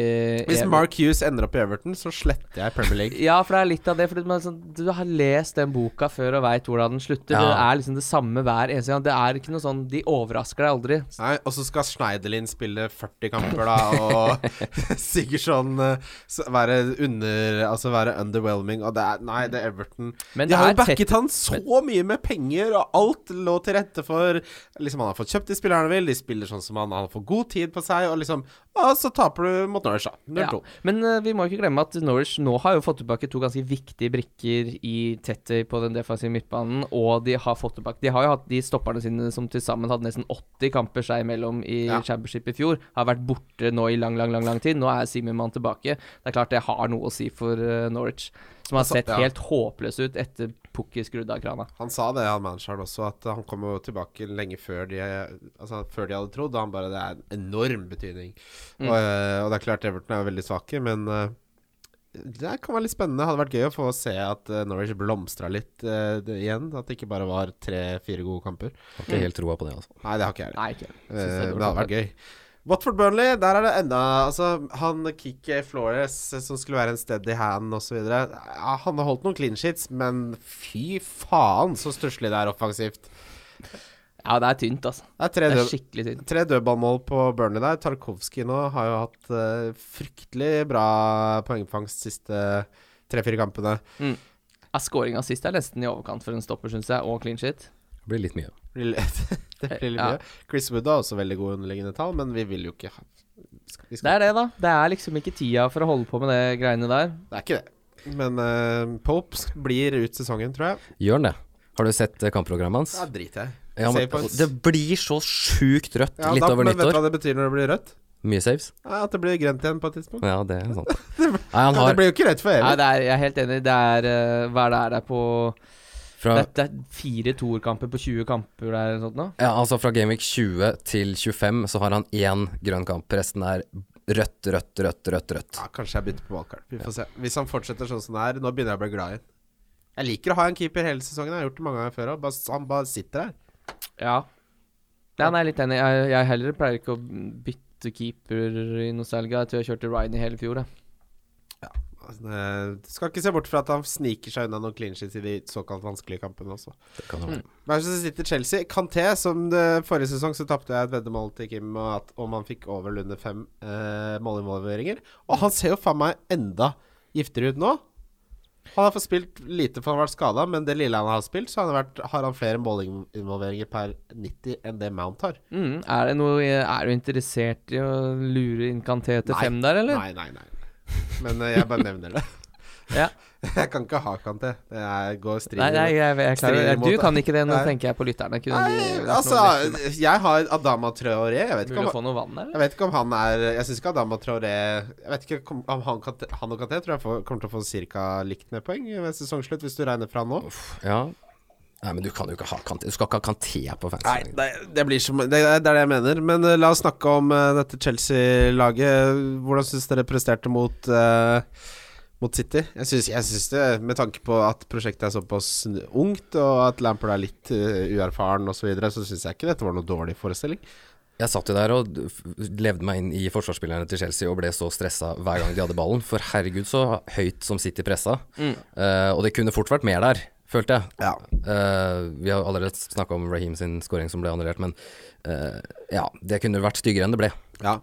Hvis evig. Mark Hughes ender opp i Everton, så sletter jeg Premier League. Ja, for det er litt av det. Fordi man, sånn, du har lest den boka før og veit hvordan den slutter. Ja. Det er liksom det samme hver eneste gang. Det er ikke noe sånn De overrasker deg aldri. Nei, og så skal Schneiderlin spille 40 kamper, da, og Sigurdsson eh, s- være under Altså være underwhelming, og det er Nei, det er Everton Men De det har er jo backet han så mye med penger, og alt lå til rette for Liksom, han har fått kjøpt de spillerne han vil, de spiller sånn som han, han får god tid på seg, og liksom Og så taper du mot Norwich, da. 0-2. Ja. Men eh, vi må ikke glemme at Norwich nå har jo fått tilbake to ganske viktige brikker i Tetty på den defensive midtbanen, og de har fått tilbake De har jo hatt de stopperne sine som til sammen hadde nesten 80 kamper seg imellom i Ja. Championship i fjor, har vært borte nå i lang, lang, lang lang tid. Nå er Simenmann tilbake. Det er klart det har noe å si for eh, Norwich, som har Altså, sett ja. helt håpløs ut etter Pukki skrudde av krana. Han sa det, han manageren også, at han kom jo tilbake lenge før de, altså, før de hadde trodd. Og han bare Det er en enorm betydning. Og, eh, og det er klart, Everton er jo veldig svake, men eh, det kan være litt spennende. Hadde vært gøy å få se at eh, Norwich blomstra litt eh, det, igjen. At det ikke bare var tre-fire gode kamper. Har ikke helt troa på det, altså. Nei, det har ikke jeg. heller. Nei, ikke Eh, men det hadde vært gøy. Watford Burnley, der er det enda Altså, han Kikki Flores eh, som skulle være en steady hand osv. Ja, han har holdt noen clean sheets, men fy faen så stusslig det er offensivt. Ja, det er tynt, altså. Det er tre, Det er død, skikkelig tynt. tre dødballmål på Burnley der. Tarkovskij nå har jo hatt eh, fryktelig bra poengfangst siste tre-fire kampene. Ja, Skåringa sist er nesten i overkant for en stopper, syns jeg, og clean shit. Det blir litt mye. Blir litt- det blir litt Ja. mye. Chris Wood har også veldig gode underliggende tall, men vi vil jo ikke ha vi skal, vi Det skal, er det, da. Det er liksom ikke tida for å holde på med det greiene der. det, er ikke det. Men eh, Pope sk- blir ut sesongen, tror jeg. Gjør han det? Har du sett eh, kampprogrammet hans? Ja, driter jeg. Ja, men, Save points. det blir så sjukt rødt Ja, litt da, over men vet du nyttår. hva det betyr når det blir rødt? Mye saves. Ja, at det blir grønt igjen på et tidspunkt. Ja, det er sant. Nei, han det har blir jo ikke rødt for Nei, evig. det er, jeg er helt enig. Det er eh, Hva er det er der på fra, Det er, det er fire toerkamper på 20 kamper der eller noe sånt nå. ja, altså fra Gameweek 20 til 25 så har han én grønn kamp. Resten er rødt, rødt, rødt, rødt. rødt Ja, kanskje jeg bytter på valgkart. Vi får se. Hvis han fortsetter sånn som det er, nå begynner jeg å bli glad i ham. Jeg liker å ha en keeper hele sesongen. Jeg har gjort det mange ganger før òg. Han bare sitter der. Ja. Nei, nei, jeg er litt enig. Jeg, jeg heller pleier ikke å bytte keeper i Nostalgia. Jeg tror jeg kjørte Ryan i hele fjor, jeg. Altså, det- du skal ikke se bort fra at han sniker seg unna noen clean sheets i de såkalt vanskelige kampene også. Det kan jo være. Hver som sitter Chelsea. Kanté, som det, forrige sesong så tapte jeg et veddemål til Kim og at, om han fikk over eller under fem eh, målinvolveringer. Og han ser jo faen meg enda giftigere ut nå. Han har fått spilt lite for han har vært skada, men det lille han har spilt, så har han, vært, har han flere målinvolveringer per 90 enn det Mount har. Mm, er, det noe, er du interessert i å lure inn Kanté til Nei. fem der, eller? Nei, nei, nei. Men eh, jeg bare nevner det. Ja. Jeg kan ikke ha Kanté. Det er, går strid Nei, nei, jeg, jeg, jeg klarer Strider Du mot- kan ikke det, nå Nei. tenker jeg på lytterne. Kunne de Nei, vært noe altså, lettere? jeg har Adama Traoré. Jeg vet ikke Mulig om å få noe vann der? Jeg vet ikke om han er Jeg syns ikke Adama Traoré Jeg vet ikke om om han, kan- han og Kanté tror jeg får, kommer til å få ca. likt med poeng ved sesongslutt, hvis du regner fra nå. Mm. Ja. Nei, men du kan jo ikke ha Kanté. Du skal ikke ha Kanté på fansen. det, blir som det, er det jeg mener. Men eh, la oss snakke om dette Chelsea-laget. Hvordan syns dere presterte mot eh, mot City. Jeg syns, det, med tanke på at prosjektet er såpass ungt, og at Lampard er litt eh, uerfaren osv., så, videre, så syns jeg ikke dette var noe dårlig forestilling. Jeg satt jo der og d- f- levde meg inn i forsvarsspillerne til Chelsea og ble så stressa hver gang de hadde ballen. For herregud, så høyt som City pressa. Eh, og det kunne fort vært mer der, følte jeg. Mm. Ja. Eh, vi har allerede snakka om Raheem sin scoring som ble annullert, men eh, ja, det kunne vært styggere enn det ble. ja.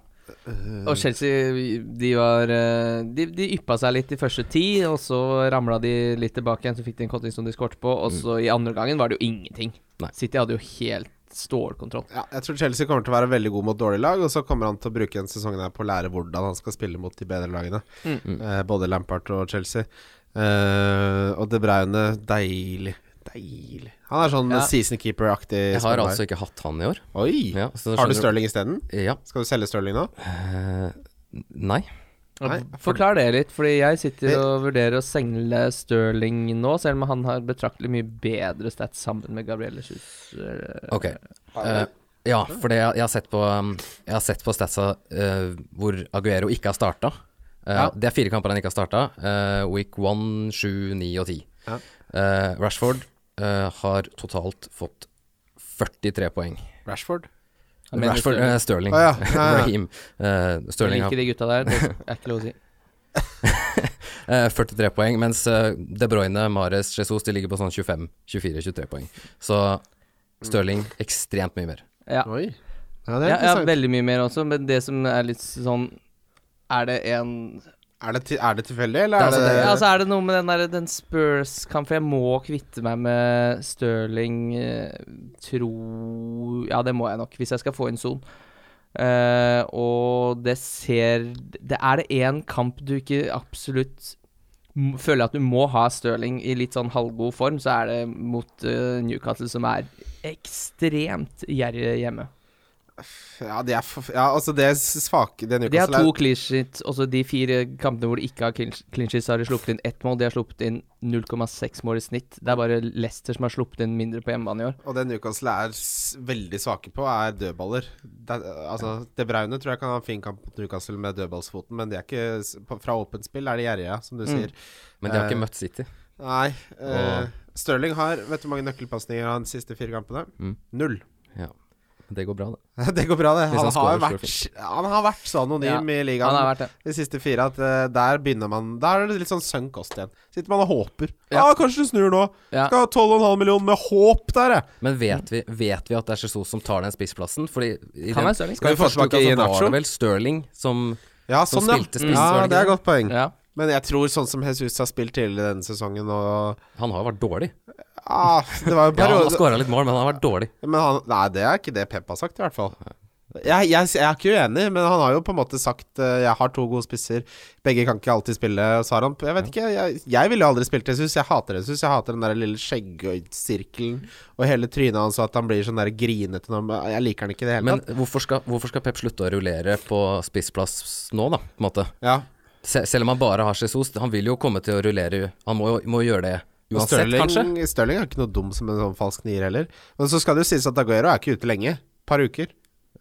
Og Chelsea, de var eh, De, de yppa seg litt i første ti, og så ramla de litt tilbake igjen, så fikk de en kotting som de skåret på, og Mm. så i andre gangen var det jo ingenting. Nei. City hadde jo helt stålkontroll. Ja, jeg tror Chelsea kommer til å være veldig god mot dårlige lag, og så kommer han til å bruke en sesong der på å lære hvordan han skal spille mot de bedre lagene. Eh, både Lampard og Chelsea. Eh, og De Bruyne, deilig. Deilig. Han er sånn Ja. season keeper-aktig. Jeg har spiller. altså ikke hatt han i år. Oi! Ja, så da har du skjønner Stirling isteden? Ja. Skal du selge Stirling nå? Eh, nei. Nei, Forklar det litt, fordi jeg Det- sitter og vurderer å sengle Sterling nå, selv om han har betraktelig mye bedre stats sammen med Gabrielle Schutz. Ok. Eh, ja, for det, jeg har sett på um, Jeg har sett på statsa eh, hvor Aguero ikke har starta. Eh, Ja. Det er fire kamper han ikke har starta. eh, week 1, 7, 9 og 10. Ja. Eh, Rashford eh, har totalt fått 43 poeng. Rashford? mener Rashford, eh, Sterling. Sterling. Å, Ah, ja. Ja, ja. Raheem. Eh, Jeg Sterling har liker de gutta der, det er ikke lov å si. eh, 43 poeng, mens eh, De Bruyne, Mares, Jesus de ligger på sånn 25, 24, 23 poeng. Så Sterling ekstremt mye mer. Ja. Oi. Ja, det er Ja, ja, interessant. veldig mye mer også, men det som er litt sånn Er det en er, det, til- er det tilfeldig, eller Det er er det, altså Ja, altså er det noe med den, der- den Spurs-kampen For jeg må kvitte meg med Stirling eh, Tro Ja, det må jeg nok, hvis jeg skal få inn Son. Eh, og det ser det Er det én kamp du ikke absolutt m- føler at du må ha Stirling i litt sånn halvgod form, så er det mot eh, Newcastle, som er ekstremt gjerrig hjemme. Ja, det er for, ja, altså det er svake Det De har Newcastle to er clean sheets, også de fire kampene hvor de ikke har clean clean sheets, så har de sluppet inn ett mål. De har sluppet inn 0,6 mål i snitt. Det er bare Leicester som har sluppet inn mindre på hjemmebane i år. Og det Newcastle er s- veldig svake på, er dødballer. Det, altså, De Braune tror jeg kan ha en fin kamp mot Newcastle med dødballsfoten, men de er ikke s- på- fra åpent spill er de gjerrige, som Mm. du sier. Men de har Eh, ikke møtt City. Nei. Eh, Og- Stirling har Vet du hvor mange nøkkelpasninger han har de siste fire kampene? Mm. Null. Ja. Det går bra, det. Det går bra, det. Hvis han Han har, scorer, så er det vært, han har vært så anonym i ligaen. Han har vært det. De siste fire, at eh, der begynner man Der er det litt sånn sunk kost igjen. Sitter man og håper. Ja, Ja. kanskje det snur nå. Ja. Skal ha 12,5 millioner med håp der, jeg. Men vet vi, vet vi at det er Jesus som tar den spissplassen? Fordi i Kan den, være Stirling. Skal vi få tilbake i Nacho? Var Iheanacho? det vel Stirling som Ja, Som sånn, ja. spilte spiss, var ja. det Det er ikke godt poeng. Ja. Men jeg tror sånn som Jesus har spilt tidligere denne sesongen og Han har jo vært dårlig. ah, Det var jo en Ja, han har periode skåra litt mål, men han har vært dårlig. Men han Nei, det er ikke det Pep har sagt, i hvert fall. Jeg, jeg, jeg er ikke uenig, men han har jo på en måte sagt eh, Jeg har to gode spisser, begge kan ikke alltid spille. Så har han Jeg vet ikke, jeg, jeg ville jo aldri spilt Jesus. Jeg hater Jesus. Jeg hater den der lille skjeggsirkelen og hele trynet hans, og at han blir sånn der grinete når han- Jeg liker han ikke i det hele Men tatt. hvorfor skal, hvorfor skal Pep slutte å rullere på spissplass nå, da? På en måte? Ja. Se, selv om han bare har Jesus, han vil jo komme til å rullere Han må jo må jo gjøre det Og uansett, kanskje? Stirling, Stirling er ikke noe dum som en sånn falsk nier heller. Men så skal det jo sies at Aguero er ikke ute lenge. Par uker.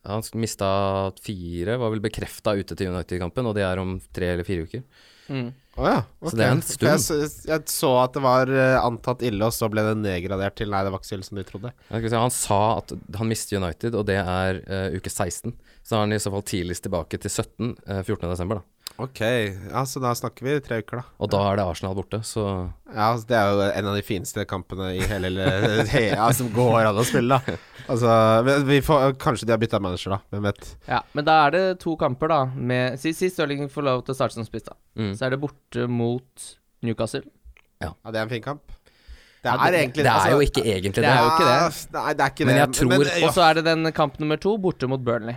Han mista fire, var vel bekrefta ute til United-kampen, og det er om tre eller fire uker. Å ja. Så ok. det er en For stund. Jeg, s- jeg så at det var eh, antatt ille, og så ble det nedgradert til nei, det var ikke så ille som de trodde. Ja, skal vi se, Han sa at han mister United, og det er eh, uke 16. Så er han i så fall tidligst tilbake til 17, uh, 14.12., da. Ok, ja, så da snakker vi tre uker, da. Og da er det Arsenal borte, så Ja, altså, Det er jo en av de fineste kampene i hele hele- ja, som går an å spille, da. Altså, men vi får, Kanskje de har bytta manager, da. Hvem vet. Ja, men da er det to kamper, da. Med, si, si Stirling får lov til å starte som spiss, da. Mm. Så er det borte mot Newcastle. Ja, Det er en fin kamp. Det er Ja, det- egentlig altså, Det er jo ikke egentlig det. Det er jo ikke det. Nei, det er ikke Men det. jeg tror Og så er det den kamp nummer to, borte mot Burnley.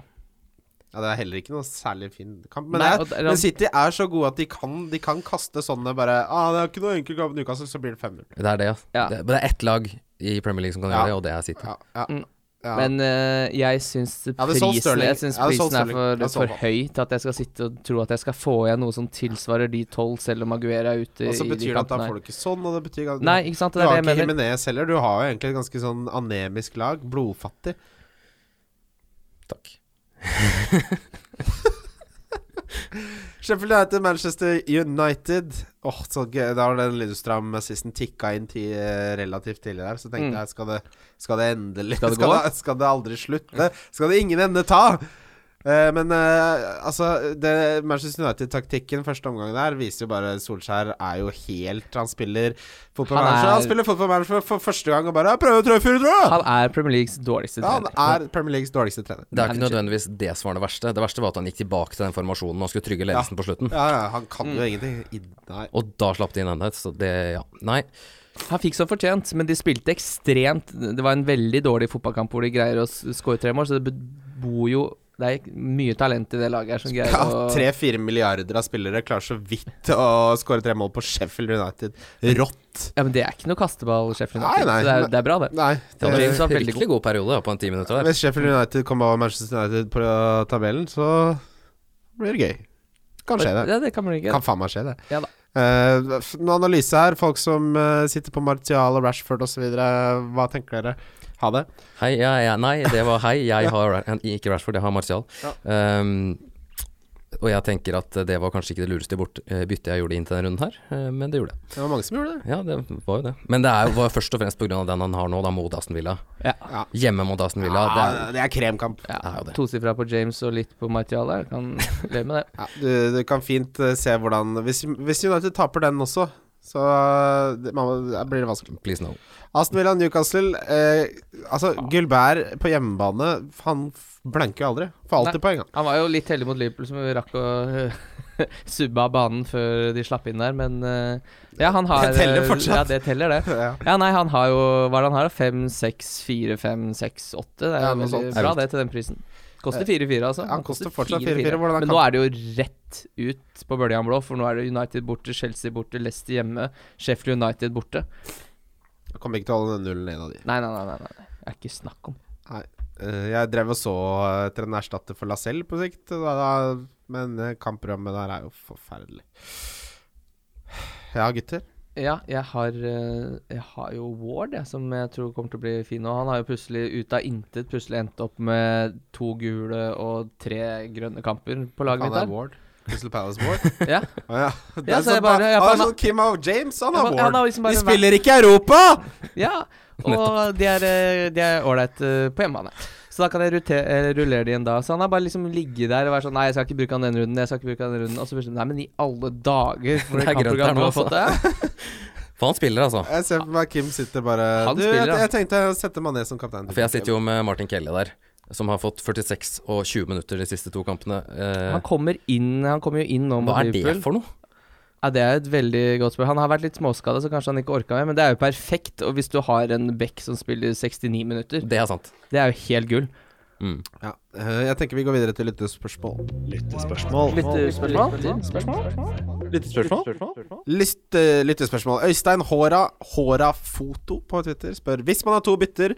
Ja, det er heller ikke noe særlig fin kamp. Men, Nei, det, og det er- er- men City er så gode at de kan, de kan kaste sånne bare ah, 'Det er ikke noe enkel kamp mot Newcastle', så blir det 5-0. Det er det, ja. Ja. Det, men det er ett lag i Premier League som kan Ja. gjøre det, og det er City. Ja, ja, Mm. ja. Men eh, jeg syns hadde solgt prisen, Sterling. jeg syns Jeg hadde solgt prisen er Sterling. Jeg for, hadde solgt for høy til at jeg skal sitte og tro at jeg skal få igjen noe som tilsvarer de tolv, selv om Aguera er ute og så i de betyr det at da kampene. får du her. ikke sånn, og det betyr at Nei, ikke sant. Du Det er har det ikke jeg mener. Jimenez heller. Du har jo egentlig et ganske sånn anemisk lag. Blodfattig. Takk. Sheffield United, Manchester United. Åh, så gøy. Da var den Lillestrøm-assisten tikka inn ti, eh, relativt tidlig der. Så tenkte Mm. jeg, skal det, skal det endelig Skal det gå? Skal det, skal det aldri slutte? Skal det ingen ende ta? Eh, men eh, altså det, Manchester United-taktikken første omgang der viser jo bare Solskjær er jo helt Han spiller Han fotballmanager er- Han spiller fotballmanager for, for første gang og bare «Jeg prøver å treffe fire, tror jeg!» Han er Premier Leagues dårligste Ja, han trener. er Premier Leagues dårligste trener. Det er ikke nødvendigvis det som var det verste. Det verste var at han gikk tilbake til den formasjonen og skulle trygge ledelsen på slutten. Ja, ja, han kan jo ingenting. I- Nei. Og da slapp de inn enda et, så det Ja. Nei. Han fikk som fortjent, men de spilte ekstremt Det var en veldig dårlig fotballkamp hvor de greier å s- skåre tre mål, så det be- bor jo Det er mye talent i det laget her som greier Ja, å Tre-fire milliarder av spillere klarer så vidt å skåre tre mål på Sheffield United. Rått. Ja, men det er ikke noe kasteball, Sheffield Nei, United. nei, så det er, men- det er bra, det. Nei. Det Ja, var Det, en James var veldig riktig god periode da, på en ti minutter der. hvis Sheffield United kommer over Manchester United på tabellen, så blir det gøy. Kan skje, det. Ja, det kan man ikke. Kan faen meg skje, det. Ja da. Eh, f- noe analyse her. Folk som eh, sitter på Martial og Rashford osv. Hva tenker dere? Ha det. Hei, ja, ja, nei, det var hei. Jeg har Ra- ikke Rashford, jeg har Martial. Um, og jeg tenker at det var kanskje ikke det lureste bort, eh, byttet jeg gjorde inn til denne runden her, eh, men det gjorde jeg. Det var mange som gjorde det. Ja, det var jo det. Men det er jo var først og fremst pga. den han har nå, da, mot Aston Villa. Ja. Ja. Hjemme mot Aston Villa. Ja, Det er, det er kremkamp. er jo det. Tosifra på James og litt på Martial der. Kan leve med det. Ja, du, du kan fint eh, se hvordan Hvis, hvis United taper den også, så det, man, må- da blir det vanskelig. Please no. Aston Villa Newcastle eh, Altså, Gulbert på hjemmebane Han f- blanker jo aldri. Får alltid Nei. poeng. han. Han var jo litt heldig mot Liverpool, som rakk å eh, subbe av banen før de slapp inn der, men eh, Ja, han har Det teller eh, fortsatt. Ja, det teller, det. Ja. Ja, nei, han har jo Hva er det han har? da? Fem, seks, fire, fem, seks, åtte? Det er Ja, jo noe veldig sånt. bra, det, til den prisen. Koster 4-4, altså. han koster fortsatt 4-4, hvordan Men kan- nå er det jo rett ut på Bøljan blå, for nå er det United borte, Chelsea borte, Leicester hjemme, Sheffield United borte. Jeg kommer ikke til å holde den nullen en av de. Nei, nei, nei. nei, nei. Det er ikke snakk om. Eh, jeg drev og så eh, etter en erstatter for Lacelle på sikt, da, da, men eh, kampprogrammet der er jo forferdelig. Ja, gutter. Ja, jeg har, eh, jeg har jo Ward, jeg, som jeg tror kommer til å bli fin nå. Han har jo plutselig ut av intet plutselig endt opp med to gule og tre grønne kamper på laget Han mitt er her. Ward. Crystal Palace Ward. Ja. Å ja. Det Ja, er så jeg sånn, bare- da- jeg han er bare- sånn Kim O. James, han Ja, er men- ja, han har Ward. liksom De bare vært- spiller ikke i Europa! ja. Og de er, eh, de er ålreit eh, på hjemmebane. Så da kan jeg rute- eh, rullere de igjen da. Så han har bare liksom ligget der og vært sånn Nei, jeg skal ikke bruke han den runden, jeg skal ikke bruke han den runden. Og så plutselig Nei, men i alle dager, for Det det er grønt her kampprogram du nå, altså. har fått det. For han spiller, altså. Jeg ser for meg Kim sitter bare Han Du, spiller, jeg, da. jeg tenkte å sette Mané som kaptein. For jeg sitter jo med Martin Kelle der, som har fått 46 og 20 minutter de siste to kampene. Eh, Han kommer inn Han kommer jo inn nå mot hva er det Liverpool. for noe? Ja, Det er et veldig godt spørsmål. Han har vært litt småskada, så kanskje han ikke orka mer, men det er jo perfekt. Og hvis du har en back som spiller 69 minutter, Det er sant. det er jo helt gull. Mm. Ja, eh, jeg tenker vi går videre til lyttespørsmål. Lyttespørsmål? Lytte, eh, lyttespørsmål. Øystein Håra, Håra Foto på Twitter, spør Hvis man har to bytter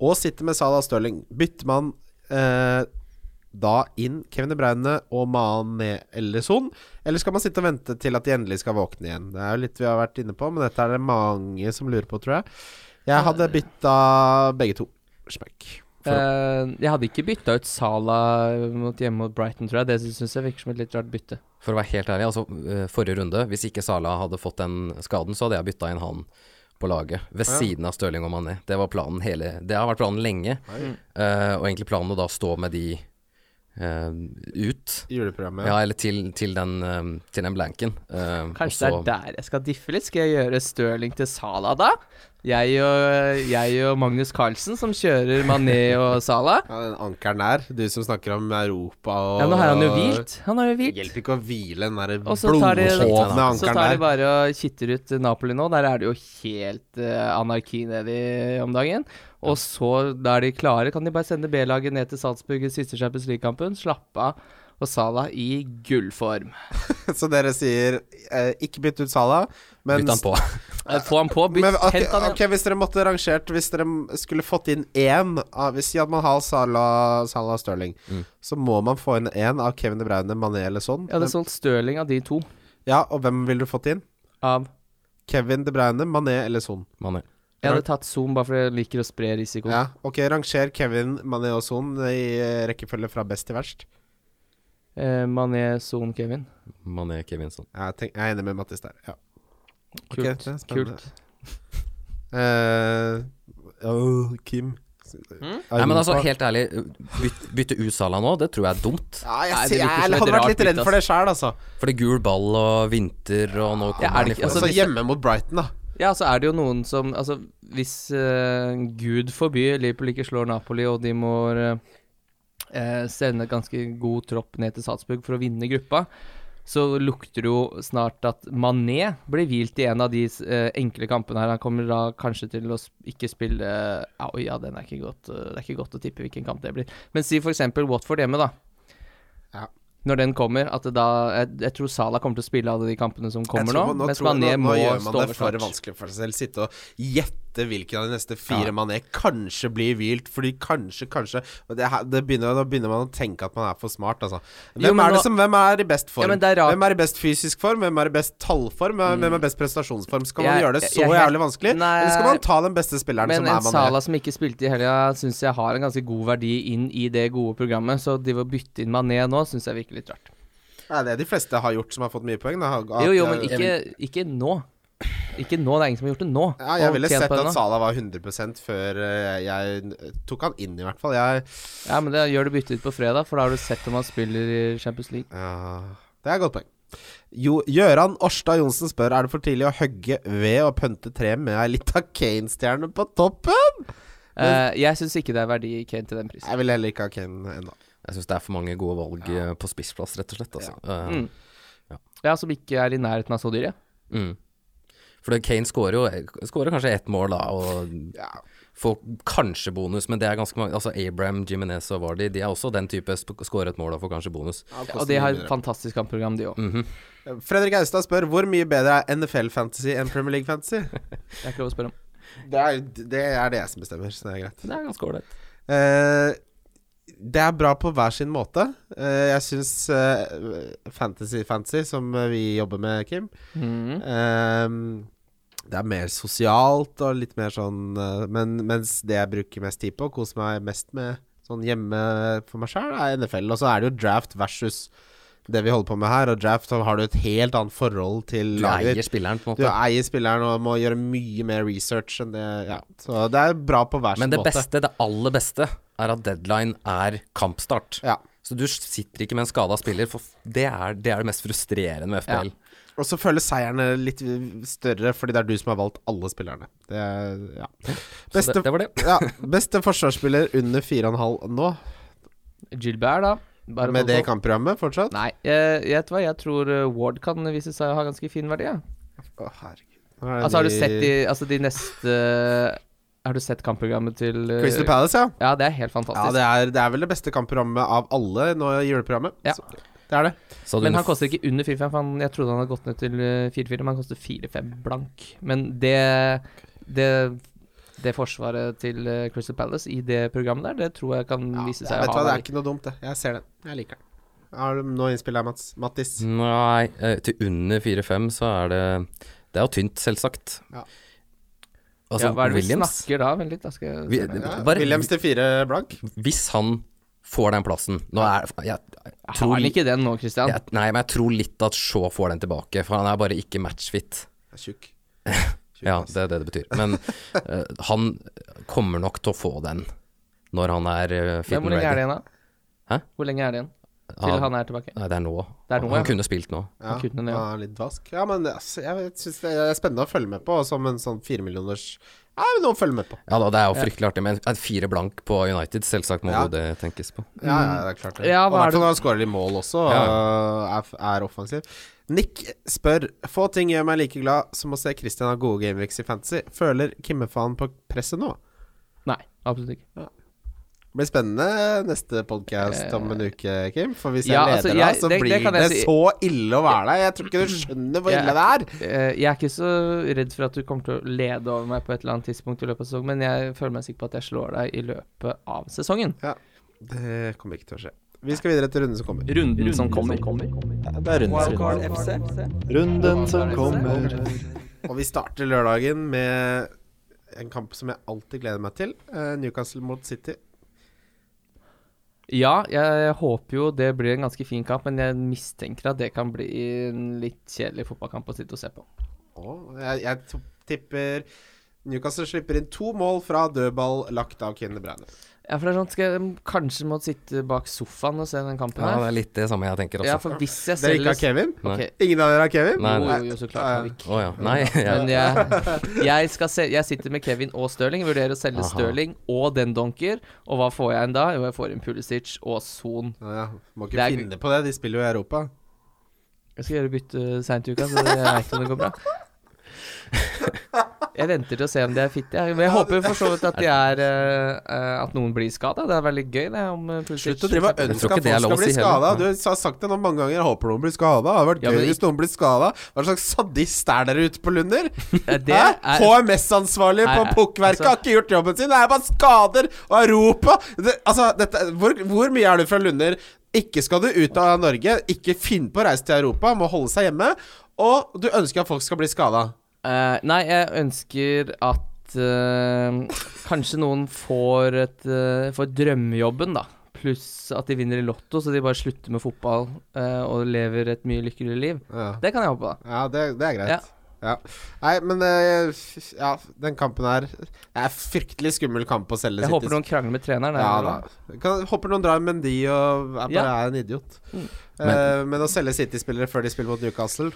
og sitter med Salah Stirling, bytter man eh, da inn Kevin De Bruyne og Mané eller Son? Eller skal man sitte og vente til at de endelig skal våkne igjen? Det er jo litt vi har vært inne på, men dette er det mange som lurer på, tror jeg. Jeg hadde bytta begge to. Smekk. Eh, jeg hadde ikke bytta ut Sala mot hjemme mot Brighton, tror jeg. Det syns jeg virker som et litt rart bytte. For å være helt ærlig, altså eh, forrige runde, hvis ikke Sala hadde fått den skaden, så hadde jeg bytta inn han på laget, ved siden av Stirling og Mané. Det var planen hele Det har vært planen lenge, Mm. eh, og egentlig planen å da stå med de eh, ut. Juleprogrammet. Ja, eller til, til, den, eh, til den blanken. eh, og Kanskje så- det er der jeg skal diffe litt? Skal jeg gjøre Stirling til Sala da? Jeg og, eh, jeg og Magnus Carlsen som kjører Mané og Sala. Ja, den ankeren der. Du som snakker om Europa og Ja, nå har han jo hvilt. Han har jo Det hvilt. hjelper ikke å hvile den der Og så tar de- blodhovne Så tar de ankeren der. bare og kitter ut eh, Napoli nå. Der er det jo helt eh, anarki nedi om dagen. Og så, da er de klare, kan de bare sende B-laget ned til Salzburg i siste Champions League-kampen. Slappe av. Og Salah i gullform. Så dere sier eh, ikke bytt ut Salah, men, Bytt han på. Eh, Få han på, bytt. men ok, Hent han ok, hvis dere måtte rangert Hvis dere m- skulle fått inn én av Si at man har Salah, Salah og Stirling, Mm. så må man få inn én av Kevin De Bruyne, Mané eller sånn. Jeg hadde solgt Stirling av de to. Ja, og hvem ville du fått inn? Av Kevin De Bruyne, Mané eller sånn. Mané. Jeg hadde tatt Zoom bare fordi jeg liker å spre risiko. Ja, ok, ranger Kevin, Mané og Son i eh, rekkefølge fra best til verst. Eh, Mané, Zoom, Kevin. Mané Kevinson. Jeg, tenk, jeg er enig med Mattis der. Ja. Ok, Kult. det er spennende. Kult. Eh, åh, Hmm? Kim Nei, men altså, helt ærlig, byt, bytte ut Sala nå, det tror jeg er dumt. Ja, jeg, Nei, det sier- virker som jeg et hadde vært rart litt redd bytte, for det sjøl, altså. For det er gul ball og vinter og nå kommer Ja, er det han i ikke- form. altså. altså, hvis- hjemme mot Brighton, da. Ja, så er det jo noen som Altså, hvis eh, Gud forbyr Liverpool ikke slår Napoli, og de må eh, eh, sende ganske god tropp ned til Salzburg for å vinne gruppa, så lukter det jo snart at Mané blir hvilt i en av de eh, enkle kampene her. Han kommer da kanskje til å sp- ikke spille Au, ja, den er ikke godt, eh, det er ikke godt å tippe hvilken kamp det blir. Men si f.eks. Watford hjemme, da. Ja. Når den kommer, at det da jeg, jeg tror Salah kommer til å spille alle de kampene som Jeg kommer tror nå. man- mens tror- Mané må gjør man stå det over for snart. vanskelig for seg selv. Sitte og gjette hvilken av de neste fire Ja. mané kanskje blir hvilt, fordi kanskje, kanskje og det, her- det begynner, Da begynner man å tenke at man er for smart, altså. Jo, Hvem men er det nå- som Hvem er i best form? Ja, men det er rart. Hvem er i best fysisk form? Hvem er i best tallform? Hvem- Hvem er best prestasjonsform? Skal man Jeg- gjøre det så jeg- jeg- jævlig vanskelig? Nei. Eller skal man ta den beste spilleren som Men er en Sala mané? som ikke spilte i helga, syns jeg har en ganske god verdi inn i det gode programmet. Så de å bytte inn Mané nå, syns jeg virker litt rart. Det er det de fleste har gjort som har fått mye poeng. Da. At- eh, Jo, jo, men ikke, ikke nå. Ikke nå, det er ingen som har gjort det nå. Ja, jeg og ville tjent sett på at det nå. Salah var 100 før eh, jeg tok han inn, i hvert fall. Jeg, Ja, men det gjør du bytte ut på fredag, for da har du sett om han spiller i Champions League. ja, det er et godt poeng. Jo, Gjøran Årstad Johnsen spør Er det for tidlig å hogge ved og pønte tre med ei lita Kane-stjerne på toppen. Eh, jeg syns ikke det er verdi i Kane til den prisen. Jeg vil heller ikke ha Kane ennå. Jeg syns det er for mange gode valg eh, på spissplass, rett og slett. Altså. Eh, Mm. Ja, Som ikke er i nærheten av så dyre. mm. For det- Kane skårer jo skårer kanskje ett mål, da, og Ja. Folk, kanskje bonus, men det er ganske mange. Altså Abraham, Jimenez og Vardy, de er også den type sp skåret mål og får kanskje bonus. Mhm. Og de har et fantastisk kampprogram, de òg. Fredrik Austad spør hvor mye bedre er NFL Fantasy enn Premier League Fantasy? Det er ikke lov å spørre om. Det er det, er det jeg som bestemmer, så det er greit. Det er ganske ålreit. Eh, det er bra på hver sin måte. Eh, jeg syns fantasy-fantasy, som eh, vi jobber med, Kim Mm. eh, Det er mer sosialt og litt mer sånn eh, men, Mens det jeg bruker mest tid på, koser meg mest med sånn hjemme for meg sjøl, er NFL. Og så er det jo draft versus det vi holder på med her. Og draft så har du et helt annet forhold til Du laget ditt. eier spilleren, på en Du måte. eier spilleren og må gjøre mye mer research enn det ja. Så det er bra på hver sin Men det måte. beste, det aller beste, er at deadline er kampstart. Ja. Så du sitter ikke med en skada spiller, for f- det er, det er det mest frustrerende med FPL. Og så føles seierne litt større fordi det er du som har valgt alle spillerne. Det er, ja. Så Beste, det, det var det. ja, beste forsvarsspiller under 4,5 nå, Gilbert, da. Bare med for- det kampprogrammet fortsatt? Nei, jeg, jeg vet hva, jeg tror eh, Ward kan vise seg å ha ganske fin verdi. Ja. Å, herregud. Nå er det Altså, har du de- sett de, altså, de neste Har du sett kampprogrammet til eh, Crystal Palace, ja. Ja, det er helt ja fantastisk. det, er, det er vel det beste kampprogrammet av alle nå i juleprogrammet. Ja. Så, det er det. Så men du- han koster ikke under 4-5. for han- Jeg trodde han hadde gått ned til eh, 4-4, men han koster 4-5 blank. Men det, det det forsvaret til eh, Crystal Palace i det programmet der, det tror jeg kan Ja, vise jeg seg vet å hva, ha det er verdi. ikke noe dumt, det. Jeg ser den. Jeg liker den. Har du noe innspill her, Mats? Mattis? Mm. Nei, eh, til under 4-5 så er det Det er jo tynt, selvsagt. Ja. Altså, Ja, sånn hva er det vi Williams snakker da? Vent litt, da skal jeg vi, se meg. Ja, bare, Williams til fire blank. Hvis han får den plassen Nå er jeg, jeg Har tror han ikke den nå, Christian? jeg, Nei, men jeg tror litt at Shaw får den tilbake, for han er bare ikke matchfit. Jeg er Tjukk. Tjukk, Ja, ass. det er det det betyr. Men eh, han kommer nok til å få den når han er eh, fit and Men hvor lenge er det ready. igjen, da? Hæ? Hvor lenge er det igjen til Han- han er tilbake? Nei, det er nå. Det er nå, han ja. kunne spilt nå. Ja, kutter den, ja. ja. han er litt dvask. Ja, men altså, jeg syns det er spennende å følge med på, og som en sånn firemillioners Ja, men noe å følge med på. Ja da, det er jo fryktelig artig, men en fire blank på United, selvsagt må Ja. jo det tenkes på. Ja, ja, det er klart det. Mm. Ja, og i hva er hvert det- fall når han skårer litt mål også, og er, er offensiv. Nick spør Få ting gjør meg like glad som å se Christian ha gode gameweeks i fantasy. Føler Kimme-faen på presset nå? Nei, absolutt ikke. Det blir spennende neste podkast om en uke, Kim. For hvis jeg Eh, ja, leder altså, da, jeg- så det- det blir det, kan jeg si. så ille å være der. Jeg tror ikke du skjønner hvor Jeg- ille det er. Eh, Jeg er ikke så redd for at du kommer til å lede over meg på et eller annet tidspunkt i løpet av sesongen, men jeg føler meg sikker på at jeg slår deg i løpet av sesongen. Det kommer ikke til å skje. Vi skal videre til runden som kommer. Runden som kommer. Det er runden, Wildcard runden. FC. runden som kommer. Og vi starter lørdagen med en kamp som jeg alltid gleder meg til. eh, Newcastle mot City. Ja, jeg håper jo det blir en ganske fin kamp, men jeg mistenker at det kan bli en litt kjedelig fotballkamp å sitte og se på. Og jeg, jeg to- tipper Newcastle slipper inn to mål fra dødball lagt av Kevin De Bruyne. Ja, for det er sånn, skal jeg kanskje må sitte bak sofaen og se den kampen Ja, det her? er litt det samme jeg tenker altså. Ja, også. for hvis jeg Dere ser ikke har Kevin? Nei. Ok. Ingen av dere har Kevin? Nei, Jo, jo, jo, så klart. har vi Å ja. Nei, ja. Men jeg, jeg, skal se, jeg sitter med Kevin og Stirling. Vurderer å selge Aha. Stirling og den donker. Og hva får jeg igjen da? Jo, jeg får en Pulisic og Son. Ja, ja. Må Det ikke er- finne på det, de spiller jo i Europa. Jeg skal gjøre bytte seint i uka, så jeg veit om det går bra. Jeg venter til å se om de er fitte. jeg. Men jeg håper for så vidt at de er eh, eh, At noen blir skada. Det er veldig gøy, det, om eh, Pulisic Slutt å drive og Jeg ønske tror ikke at det er folk skal lov å bli si skada. heller. Du har sagt det nå mange ganger. Jeg håper noen blir skada. Det hadde vært Ja, gøy men hvis noen blir skada. Hva slags sadist er dere ute på Lunder? Eh, det Hæ? er- HMS-ansvarlig på Nei, nei, pukkverket altså- har ikke gjort jobben sin. Det er bare skader og Europa. Det, altså, dette, hvor, hvor mye er du fra Lunder? Ikke skal du ut av Norge. Ikke finn på å reise til Europa. Må holde seg hjemme. Og du ønsker at folk skal bli skada. Eh, nei, jeg ønsker at eh, kanskje noen får, et, eh, får drømmejobben, da. Pluss at de vinner i Lotto, så de bare slutter med fotball eh, og lever et mye lykkeligere liv. Ja. Det kan jeg håpe på. da. Ja, det, det er greit. Ja. Ja. Nei, men eh, f- Ja, den kampen her Det er fryktelig skummel kamp å selge Jeg City. håper noen krangler med treneren. Ja da. eller? Kan, håper noen drar Mendy og er bare Ja. er en idiot. Mm. Eh, men, å selge City-spillere før de spiller mot Newcastle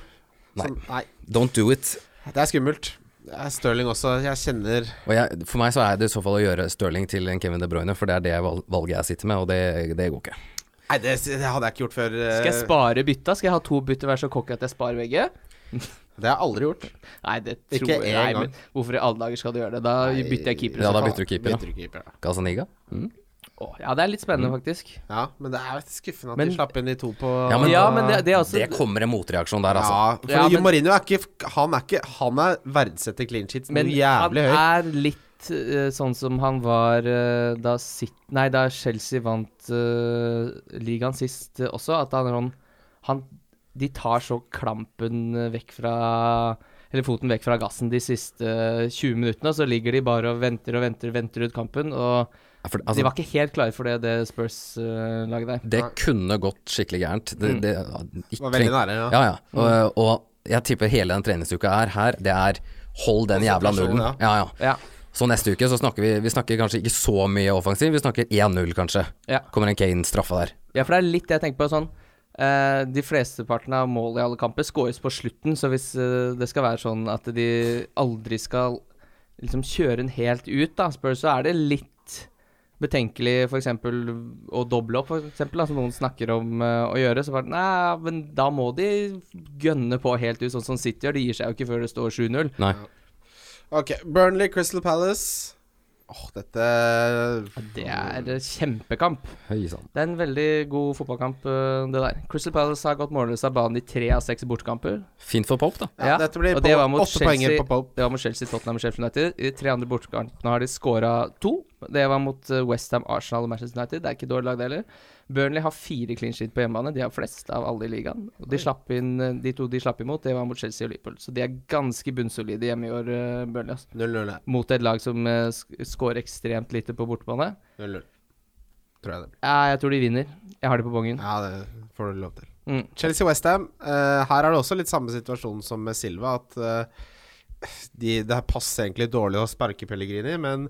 Nei. som- nei. Don't do it. Det er skummelt. Det er Stirling også. Jeg kjenner Og jeg, for meg så er det i så fall å gjøre Stirling til en Kevin De Bruyne, for det er det val- valget jeg sitter med, og det, det går ikke. Nei, det, det hadde jeg ikke gjort før. eh, Skal jeg spare bytta? Skal jeg ha to bytter, være så cocky at jeg sparer begge? Det har jeg aldri gjort. Nei, det Ikke tror jeg en nei, gang. men Hvorfor i alle dager skal du gjøre det? Da bytter jeg keeper. i Ja, så da fall. bytter du keeper, ja. Bytter du keeper, ja. Casaniga? Å, ja, det er litt spennende, faktisk. Ja, men det er skuffende at Men- de slapp inn de to på Mm. Ja, men, Ja, men Altså, det, det er også det kommer en motreaksjon der, altså. Ja, for Ja, men- Mourinho er ikke Han er ikke Han er verdsetter clean sheets noe Men jævlig høyt. han er litt eh, sånn som han var eh, da, Sit nei, da Chelsea vant eh, ligaen sist eh, også, at han, er sånn- han De tar så klampen eh, vekk fra Eller foten vekk fra gassen de siste eh, 20 minuttene, og så ligger de bare og venter og venter venter ut kampen. Og Ja, For, de altså, var ikke helt klare for det, det Spurs-laget der. det kunne gått skikkelig gærent. Det, det, Det Var veldig nære. Ja. Ja, ja. Og, og jeg tipper hele den treningsuka er her. Det er hold den jævla nullen. Konsentrasjon, Ja, ja. Ja. Så neste uke så snakker vi Vi snakker kanskje ikke så mye offensiv, vi snakker 1-0 kanskje. Ja. Kommer en Kane-straffe der. Ja, for det er litt det jeg tenker på sånn eh, De flesteparten av mål i alle kamper skåres på slutten, så hvis eh, det skal være sånn at de aldri skal liksom kjøre den helt ut, da, Spurs, så er det litt betenkelig f.eks. å doble opp, f.eks., som noen snakker om eh, å gjøre. Så bare Nei, men da må de gønne på helt ut, sånn som City gjør. De gir seg jo ikke før det står 7-0. Nei. Ok, Burnley, Crystal Palace. Åh, dette Det er eh, kjempekamp. Høy sann. Det er en veldig god fotballkamp, eh, det der. Crystal Palace har gått målløs av banen i tre av seks bortekamper. Fint for Pop, da. ja, Dette blir og på, det var mot åtte Chelsea- poenger på Pope. Det var mot Chelsea, Tottenham og Sheffield United. I de tre andre bortekampene har de scora to. Det var mot eh, West Ham, Arsenal og Manchester United. Det er ikke dårlig lag, det heller. Burnley har fire clean sheet på hjemmebane. De har flest av alle i ligaen. Og de, slapp inn, eh, de to de slapp imot, det var mot Chelsea og Liverpool. Så de er ganske bunnsolide hjemme i år, eh, Burnley. Altså. 0-0. ja. Mot et lag som eh, sk- scorer ekstremt lite på bortebane. 0-0. Tror jeg det blir. Ja, jeg tror de vinner. Jeg har de på bongen. Ja, det får du lov til. Mm. Chelsea-Westham. Uh, her er det også litt samme situasjon som med Silva. At eh, de, det her passer egentlig dårlig å sparke Pellegrini, men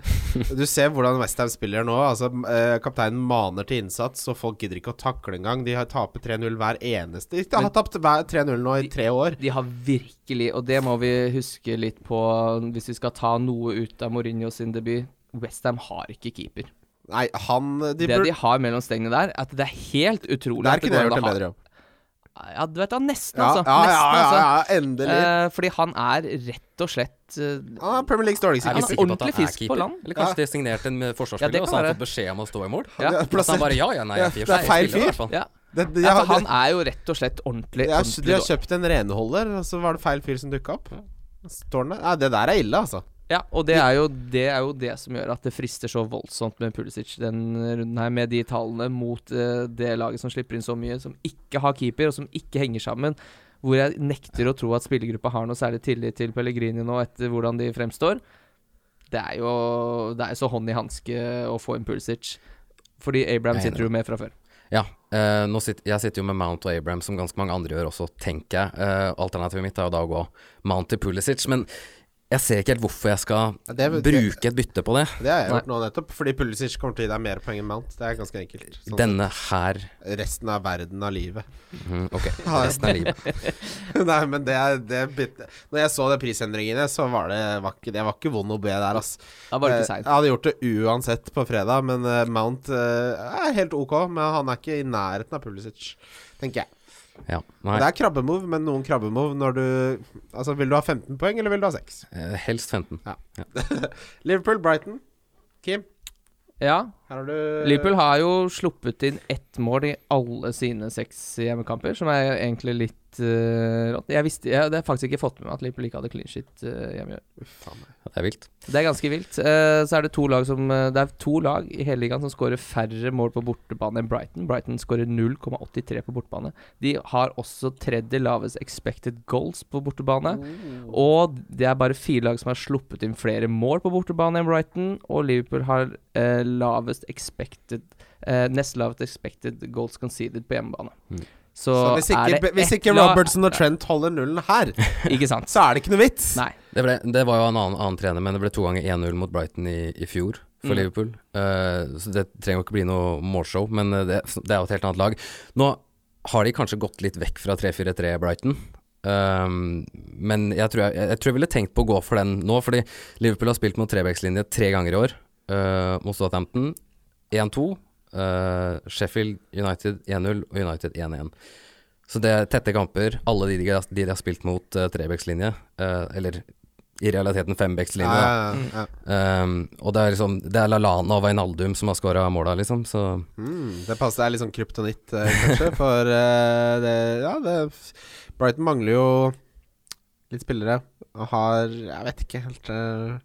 du ser hvordan Westham spiller nå. Altså, eh, kapteinen maner til innsats, og folk gidder ikke å takle engang. De har taper 3-0 hver eneste De har tapt hver 3-0 nå i tre år. De har virkelig, og det må vi huske litt på hvis vi skal ta noe ut av Mourinho sin debut. Westham har ikke keeper. Nei, han De det burde de har mellom stengene der, at det er helt utrolig Der at det kunne jeg går an gjort å en ha- bedre jobb. Ja, du vet da, nesten, Ja, altså. ja, ja, ja, nesten, altså. ja, endelig. Eh, fordi han er rett og slett eh, Han er Premier Leagues dårligste Er Han vi sikre på at keeper. er han ordentlig er fisk på keeper? land. Eller kanskje de signerte en eh, Ja, det forsvarsspiller, kan og så har han være. fått beskjed om å stå i mål? Ja, Ja, Så han plassert- bare ja, ja, nei, Ja, jeg det er spiller feil i fyr. hvert fall. ja. Det- det- ja, jeg- for han er jo rett og slett ordentlig, Jeg har, de ordentlig har kjøpt en renholder, og så var det feil fyr som dukka opp. Står den der? Nei, det der er ille, altså. dårlig. Ja, og det er, jo, det er jo det som gjør at det frister så voldsomt med Pulisic den runden her, med de tallene mot eh, det laget som slipper inn så mye, som ikke har keeper, og som ikke henger sammen. Hvor jeg nekter å tro at spillergruppa har noe særlig tillit til Pellegrini nå, etter hvordan de fremstår. Det er jo det er så hånd i hanske å få inn Pulisic. Fordi Abraham Jeg er enig. sitter jo med fra før. Ja, eh, nå sitter, jeg sitter jo med Mount og Abraham, som ganske mange andre gjør også, tenker jeg. Eh, alternativet mitt er jo da å gå Mount til Pulisic, men jeg ser ikke helt hvorfor jeg skal Ja, det- bruke et bytte på det. Det har jeg gjort nå nettopp, fordi Pulisic kommer til å gi deg mer poeng enn Mount. Det er ganske enkelt. Sånn Denne her resten av verden av livet. Mhm, Ok, resten av livet. Nei, men det er det er bitte Når jeg så de prisendringene, så var det var ikke, det var ikke vond å be der, ass. Da var det Eh, ikke seint. Jeg hadde gjort det uansett på fredag, men eh, Mount eh, er helt ok. Men han er ikke i nærheten av Pulisic, tenker jeg. Ja, nei, Det er krabbemove, men noen krabbemove når du Altså, vil du ha 15 poeng, eller vil du ha 6? eh, helst 15. Liverpool-Brighton. Kim, Ja, her har du Liverpool har jo sluppet inn ett mål i alle sine seks hjemmekamper, som er egentlig litt eh, rått. Jeg visste, jeg hadde faktisk ikke fått med meg at Liverpool ikke hadde clean shit eh, hjemme i år. Det er vilt. Det er ganske vilt. Eh, så er det to lag som eh, Det er to lag i hele ligaen som skårer færre mål på bortebane enn Brighton. Brighton skårer 0,83 på bortebane. De har også tredje lavest expected goals på bortebane. Oh. Og det er bare fire lag som har sluppet inn flere mål på bortebane enn Brighton. Og Liverpool har eh, lavest expected eh, Nest lavest expected goals conceded på hjemmebane. Mm. Så, Så hvis ikke, er det hvis ett ikke lag- Robertson og Trent holder nullen her, Ikke sant. så er det ikke noe vits! Nei. Det, ble, det var jo en annen, annen trener, men det ble to ganger 1-0 mot Brighton i, i fjor for Mm. Liverpool. Eh, så det trenger jo ikke bli noe målshow, men eh, det, det er jo et helt annet lag. Nå har de kanskje gått litt vekk fra 3-4-3 Brighton. ehm, men jeg tror jeg, jeg, tror jeg ville tenkt på å gå for den nå, fordi Liverpool har spilt mot trebekslinje tre ganger i år. eh, mot Southampton 1-2, eh, Sheffield United 1-0 og United 1-1. Så det er tette kamper. Alle de de, har- de, de har spilt mot uh, trebekslinje, eh, eller i realiteten fembekslinje. da. Ja, ja, ja. Um, og det er liksom Det er Lalana og Wijnaldum som har scora måla, liksom. Så Mm, det passer. Det er litt sånn kryptonitt, eh, kanskje. For eh, det, ja, det Brighton mangler jo litt spillere. Og har Jeg vet ikke helt eh,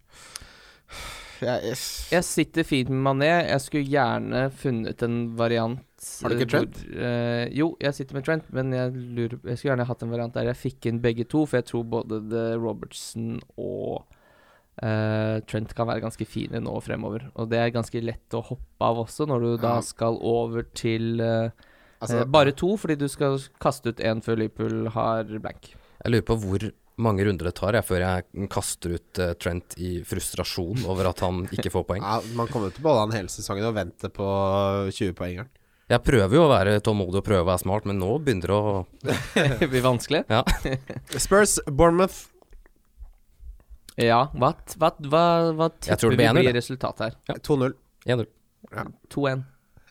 jeg, jeg, Jeg sitter fint med Mané. Jeg skulle gjerne funnet en variant Har du ikke eh, hvor- eh, jo, jeg sitter med Trent, men jeg, lurer, jeg skulle gjerne hatt en variant der jeg fikk inn begge to, for jeg tror både The Robertson og eh, Trent kan være ganske fine nå og fremover. Og det er ganske lett å hoppe av også, når du Ja. da skal over til eh, altså, eh, bare to, fordi du skal kaste ut én før Liverpool har blank. jeg lurer på hvor mange runder det tar jeg, før jeg kaster ut eh, Trent i frustrasjon over at han ikke får poeng. ja, Man kommer jo til å beholde han hele sesongen og vente på 20-poengeren. Jeg prøver jo å være tålmodig og prøve å være smart, men nå begynner det å det blir vanskelig. Spurs, Bournemouth. Ja, hva, hva, hva, hva Jeg tror det tipper vi blir ener, blir det. resultatet her? 2-0. 1-0. 2-1.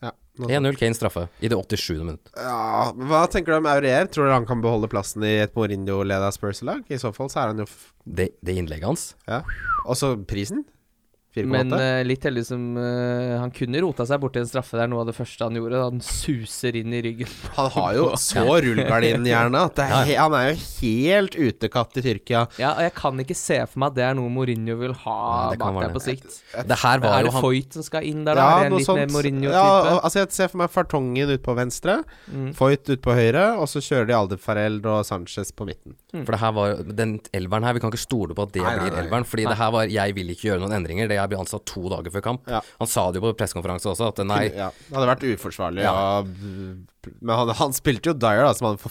Ja, noe sånt. 1-0 Kane straffe i det 87. minutt. Ja, men hva tenker du om Aurier? Tror du han kan beholde plassen i et Mourinho-leda Spurs-lag? I så fall så er han jo f Det, det innlegget hans. ja. Også prisen? 4,8? Men eh, litt heldig som eh, Han kunne rota seg borti en straffe der, noe av det første han gjorde. da Han suser inn i ryggen. Han har jo så rullegardinhjerne at det er he han er jo helt utekatt i Tyrkia. Ja, og Jeg kan ikke se for meg at det er noe Mourinho vil Nei, ha det kan bak være der på sikt. Eh, Det her var Er jo det han Foyt som skal inn der, da? er det en litt mer Ja, Mourinho-type? og- altså Jeg ser for meg Fartongen ut på venstre, Mm. Foyt ut på høyre, og så kjører de Alder Fareld og Sanchez på midten. For det her var jo- Den elveren her, vi kan ikke stole på at det Nei, nei, blir nei. elveren. Fordi det her var 'jeg vil ikke gjøre noen endringer', det jeg blir ansatt to dager før kamp. Ja. Han sa det jo på pressekonferanse også, at nei, Ja, det hadde vært uforsvarlig. Ja. og- men han, han spilte jo Dyer, da, som hadde en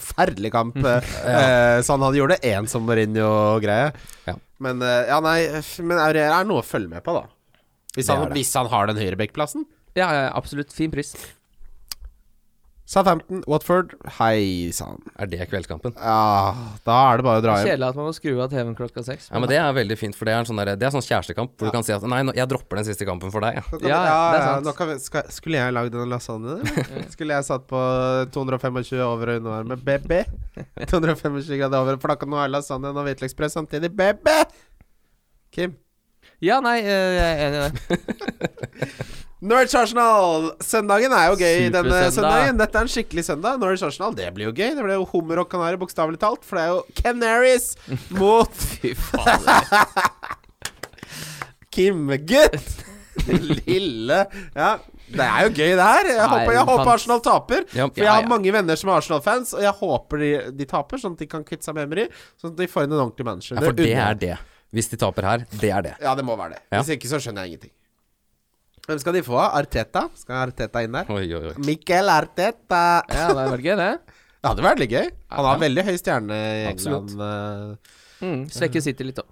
forferdelig kamp. eh, så han hadde gjorde én som Mourinho-greie. Ja. Men eh, ja, nei, f- men Aurier er noe å følge med på, da. Hvis Det han, er det. hvis han har den høyrebekkplassen. Ja, ja, absolutt. Fin pris. Southampton, Watford, hei sann. er det kveldskampen? Ja, da er det bare å dra hjem. Kjedelig at man må skru av TV-en klokka seks. Ja, men Det er veldig fint, for det er en sånn, der, det er sånn kjærestekamp hvor du kan si at 'nei, nå, jeg dropper den siste kampen for deg'. jeg». Nå kan vi- Ja, ja, det er sant. nå kan vi, skal, skulle jeg lagd en lasagne? eller? Skulle jeg satt på 225 over og undervarme? BB! 225 grader over, for da kan du ha lasagnen og hvitløksbrød samtidig. BB! Kim. Ja, nei, eh, jeg er enig i det. Norwich Arsenal! Søndagen er jo gøy denne Supersøndag. søndagen. Dette er en skikkelig søndag. Norwich Arsenal, det blir jo gøy. Det blir jo hummer og kanari, bokstavelig talt. For det er jo Canaries mot Fy faen. Kim, gutt! Lille Ja, det er jo gøy, det her. Jeg Nei, håper, jeg håper fant- Arsenal taper. Ja, For jeg Ja, har ja. mange venner som er Arsenal-fans, og jeg håper de, de taper, sånn at de kan kvitte seg med Emery. Sånn at de får inn en ordentlig manager. ja, for det unner er jeg. det. Hvis de taper her, det er det. Ja, det må være det. Ja. Hvis ikke, så skjønner jeg ingenting. Hvem skal de få? Arteta? Skal Arteta inn der? Oi, oi, oi. Mikkel Arteta. Ja, det var gøy, det. Det hadde vært litt gøy. Han har Ja. veldig høy stjerne i Absolutt. England. eh, Mm, svekker City litt òg.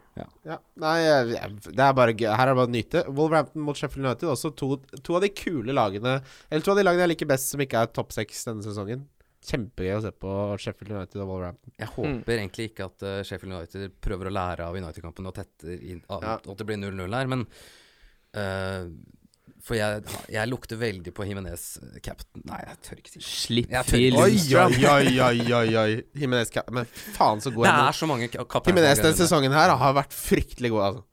Ja. Nei, jeg- jeg- det er bare gøy. Her er det bare å nyte. Wolverhampton mot Sheffield United, også to, to av de kule lagene Eller to av de lagene jeg liker best som ikke er topp seks denne sesongen. Kjempegøy å se på Sheffield United og Wolverhampton. Jeg håper egentlig ikke at eh, Sheffield United prøver å lære av United-kampen og tetter inn at Ja. at det blir 0-0 her, men eh, For jeg, jeg lukter veldig på Jimenez eh, captain Nei, jeg tør ikke si det. Slipp Jeg tør- til. Oi, oi, oi, oi, oi, oi. Jimenez Ka- Men faen så god Det han er så mange ka- kapteiner Jimenez som denne greier det. sesongen her har vært fryktelig god, altså.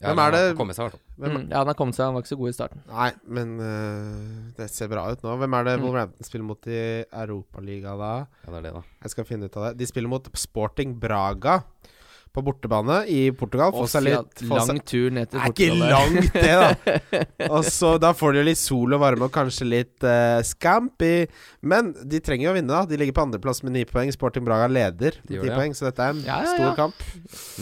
Ja, Hvem er han det- kommer seg, i hvert fall. Mm, ja, han har kommet seg. Han var ikke så god i starten. Nei, men øh, det ser bra ut nå. Hvem er det Wolverhampton spiller mot i Europaligaen da? Ja, det er det, da. Jeg skal finne ut av det. De spiller mot Sporting Braga på bortebane i Portugal. Få Og seg litt få seg- lang tur ned til Det er ikke Portugal der. langt, det, da. Og så Da får de jo litt sol og varme, og kanskje litt eh, scampi. Men de trenger jo å vinne, da. De ligger på andreplass med ni poeng. Sporting Braga leder De gjør med det, ti ja. poeng, så dette er en Ja, ja, stor ja. kamp.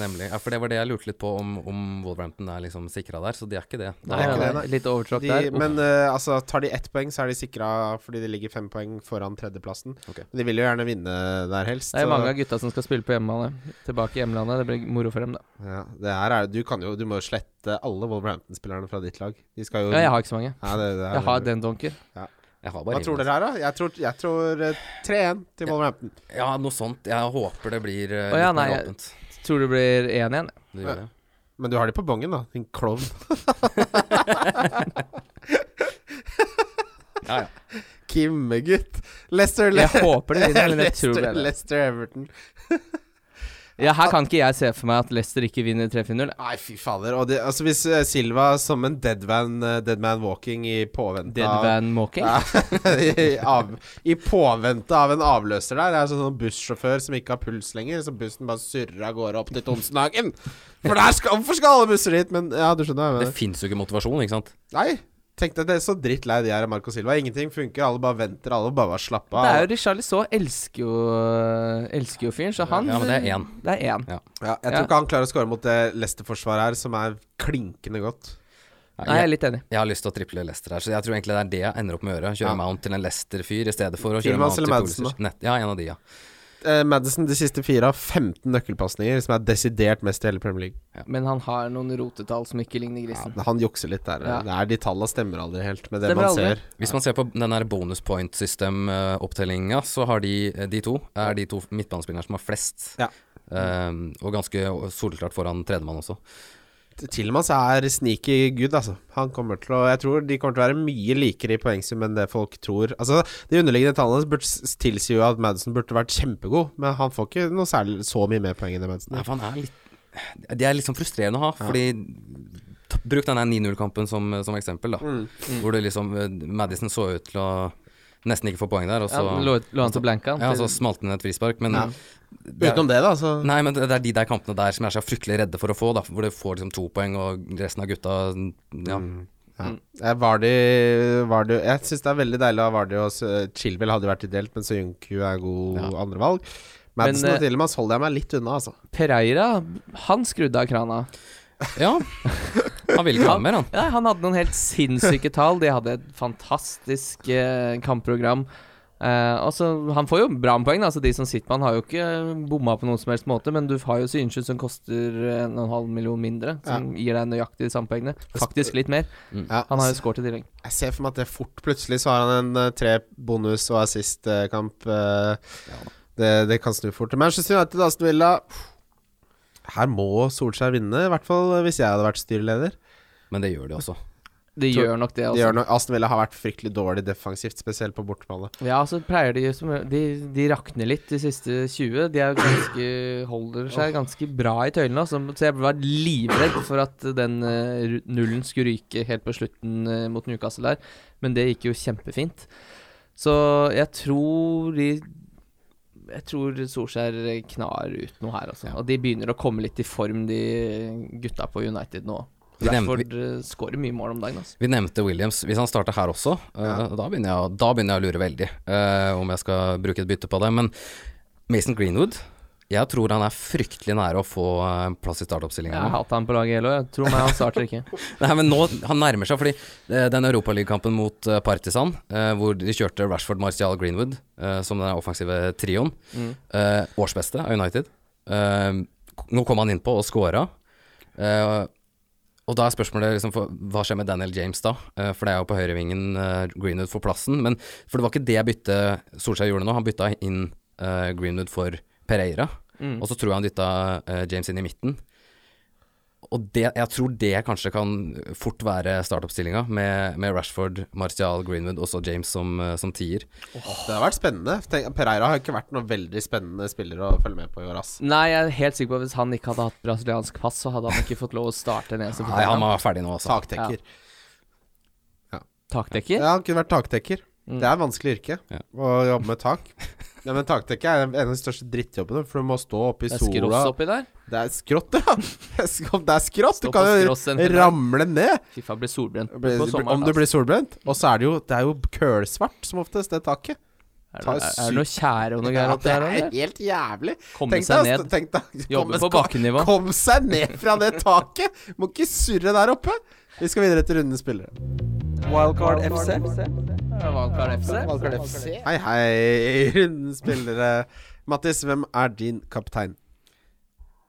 Nemlig. Ja, for det var det jeg lurte litt på, om, om Wolverhampton er liksom sikra der, så de er ikke det. Det Nei, er ikke nei, det, nei. nei. Litt overtråkk De, der. men eh, altså, tar de ett poeng, så er de sikra fordi de ligger fem poeng foran tredjeplassen. Ok. Men De vil jo gjerne vinne der helst. Det er så- mange av gutta som skal spille på hjemmebane. Tilbake i hjemlandet. Det blir moro for dem, da. ja, det her er, du, kan jo, du må jo slette alle Wolverhampton-spillerne fra ditt lag. De skal jo Ja, jeg har ikke så mange. Ja, det, det er, Jeg har den donker. Jeg har bare Hva tror Jimenez. dere her, da? Jeg tror, jeg tror eh, 3-1 til Wolverhampton. Ja, noe sånt. Jeg håper det blir uh, Å, ja, litt mer nei, åpent. Tror det blir 1-1. Det gjør det. Men du har de på bongen, da, din klovn. Ja, ja. Kimme, gutt. Leicester Jeg håper det vinner, men jeg tror det. Leicester, Leicester Everton. Ja, her kan ikke jeg se for meg at Leicester ikke vinner 3-4-0. Nei, fy fader. Og det, altså, hvis eh, Silva som en deadman, eh, deadman walking i påvente Dead av- Van Walking. Ja, I, av, I påvente av en avløser der. Jeg er sånn sånn bussjåfør som ikke har puls lenger, så bussen bare surrer av gårde opp til Tonsenhagen. For der skal, hvorfor skal alle busser dit? Men ja, du skjønner hva jeg Det mener. fins jo ikke motivasjon, ikke sant? Nei, tenk deg, det er så drittlei de er av Marco Silva. Ingenting funker, alle bare venter, alle bare bare slapper Det er av. jo Richarlison elsker jo Elsker jo fyren, så han Ja, men det er én. Det er én. Ja, jeg Ja. tror ikke han klarer å score mot det Leicester-forsvaret her, som er klinkende godt. Nei, jeg er litt enig. Jeg har lyst til å triple Lester her, så jeg tror egentlig det er det jeg ender opp med å gjøre. Kjøre Ja. Mount til en Lester-fyr i stedet for å Til kjøre Mount Mount til eller Madsen, Pulisic. Nett- Ja, en av de, ja. Eh, Madison de siste fire har 15 nøkkelpasninger, som er desidert mest i hele Premier League. Men han har noen rotetall som ikke ligner grisen. Han jukser litt der. Liksom. Ja. Det er de tallene stemmer aldri helt med det Stemmer man aldri. ser. Hvis man ser på den her bonus point system-opptellinga, så har de, eh, de to er de to midtbanespillerne som har flest. Ja. Ehm, og ganske soleklart foran tredjemann også. Tilmans er sneaky good, altså. Han kommer til å Jeg tror de kommer til å være mye likere i poengsum enn det folk tror. Altså, De underliggende tallene burde s- tilsier jo at Madison burde vært kjempegod, men han får ikke noe særlig så mye mer poeng enn det Madison Nei, gjør. for han er litt Det er litt sånn frustrerende å ha, fordi ta, Bruk denne 9-0-kampen som, som eksempel, da. Mm, Hvor det liksom eh, Madison så ut til å nesten ikke få poeng der, og Ja, så men lå, lå han til blanka? ja, så smalt den et frispark. Men det er, Utenom det, da, så Nei, men det er de der kampene der som jeg er så fryktelig redde for å få, da. Hvor du får liksom to poeng, og resten av gutta Ja. ja. Eh, Vardy, Vardy Jeg syns det er veldig deilig av Vardy og s- Chilwell hadde jo vært ideelt, men Soyuncu er god Ja. andrevalg. Madison Men, eh, og Tilmans holder jeg meg litt unna, altså. Pereira, han skrudde av krana. ja. Han vil ikke ha mer, han. Ja, han hadde noen helt sinnssyke tall. De hadde et fantastisk eh, kampprogram. Eh, altså, han får jo bra med poeng, da. altså de som sitter med han, har jo ikke bomma på noen som helst måte, men du har jo Synsjø som koster eh, en og en halv million mindre, som gir deg nøyaktig de samme poengene. Faktisk litt mer. Ja. Han har jo scoret i tillegg. Jeg ser for meg at det fort plutselig så har han en eh, tre bonus og assist-kamp. eh, det, det kan snu fort. Manchester United, Aston Villa Her må Solskjær vinne, i hvert fall eh, hvis jeg hadde vært styreleder. Men det gjør de også. Det Tror- gjør nok det, Det altså. gjør noe- Aston Villa har vært fryktelig dårlig defensivt, spesielt på bortebane. Ja, så pleier de jo som de, de rakner litt de siste 20. De er jo ganske, holder seg ganske bra i tøylene. altså. Så jeg var livredd for at den eh, ru- nullen skulle ryke helt på slutten eh, mot Newcastle der, men det gikk jo kjempefint. Så jeg tror de jeg tror Solskjær knar ut noe her, altså. Og de begynner å komme litt i form, de gutta på United nå. Vi nevnte- Derfor skårer mye mål om dagen, altså. Vi nevnte Williams. Hvis han starter her også, eh, da, begynner jeg, å- da begynner jeg å lure veldig eh, om jeg skal bruke et bytte på det. Men Mason Greenwood, jeg tror han er fryktelig nære å få eh, plass i startoppstillinga. Jeg nå. hater han på laget hele år. jeg. Tro meg, han starter ikke. Nei, men nå, han nærmer seg, fordi eh, den Europaligakampen mot eh, Partisan, eh, hvor de kjørte Rashford, Martial, Greenwood eh, som den offensive trioen, eh, årsbeste av United. Eh, k- nå kom han innpå og scora. Eh, og da er spørsmålet liksom, for, hva skjer med Daniel James da? Eh, for det er jo på høyrevingen eh, Greenwood får plassen. Men for det var ikke det byttet Solskjær gjorde nå. Han bytta inn eh, Greenwood for Pereira. Og så tror jeg han dytta eh, James inn i midten. Og det, jeg tror det kanskje kan fort være startoppstillinga, med, med Rashford, Martial, Greenwood og så James som, eh, som tier. Det har vært spennende. Tenk, Pereira har ikke vært noen veldig spennende spiller å følge med på i år, ass. Nei, jeg er helt sikker på at hvis han ikke hadde hatt brasiliansk pass, så hadde han ikke fått lov å starte en eneste Nei, han fotballkamp. må være ferdig nå, altså. Taktekker. Takdekker? Ja, han kunne vært taktekker. Det er et vanskelig yrke Ja. å jobbe med tak. Ja, men taktekke er en av de største drittjobbene, for du må stå oppe i Det er sola. skross oppi der. Det er skrått, ja. Det er skrått. Stå Du på kan skrossen til jo deg. ramle ned Fy faen, blir solbrent på sommeren. altså. om du blir solbrent. Og så er det jo Det er jo kølsvart som oftest, det taket. altså. tar er, det, er syk- det noe tjære og noe Ja, greier det oppi der? er eller? helt jævlig. Komme Tenk seg deg, ned. tenk deg Jobbe på kom- bakkenivå. Kom seg ned fra det taket! Må ikke surre der oppe. Vi skal videre til rundens spillere. Wildcard FC. Valgkar FC. Wildcard FC. Hei, hei, rundens spillere. Mattis, hvem er din kaptein?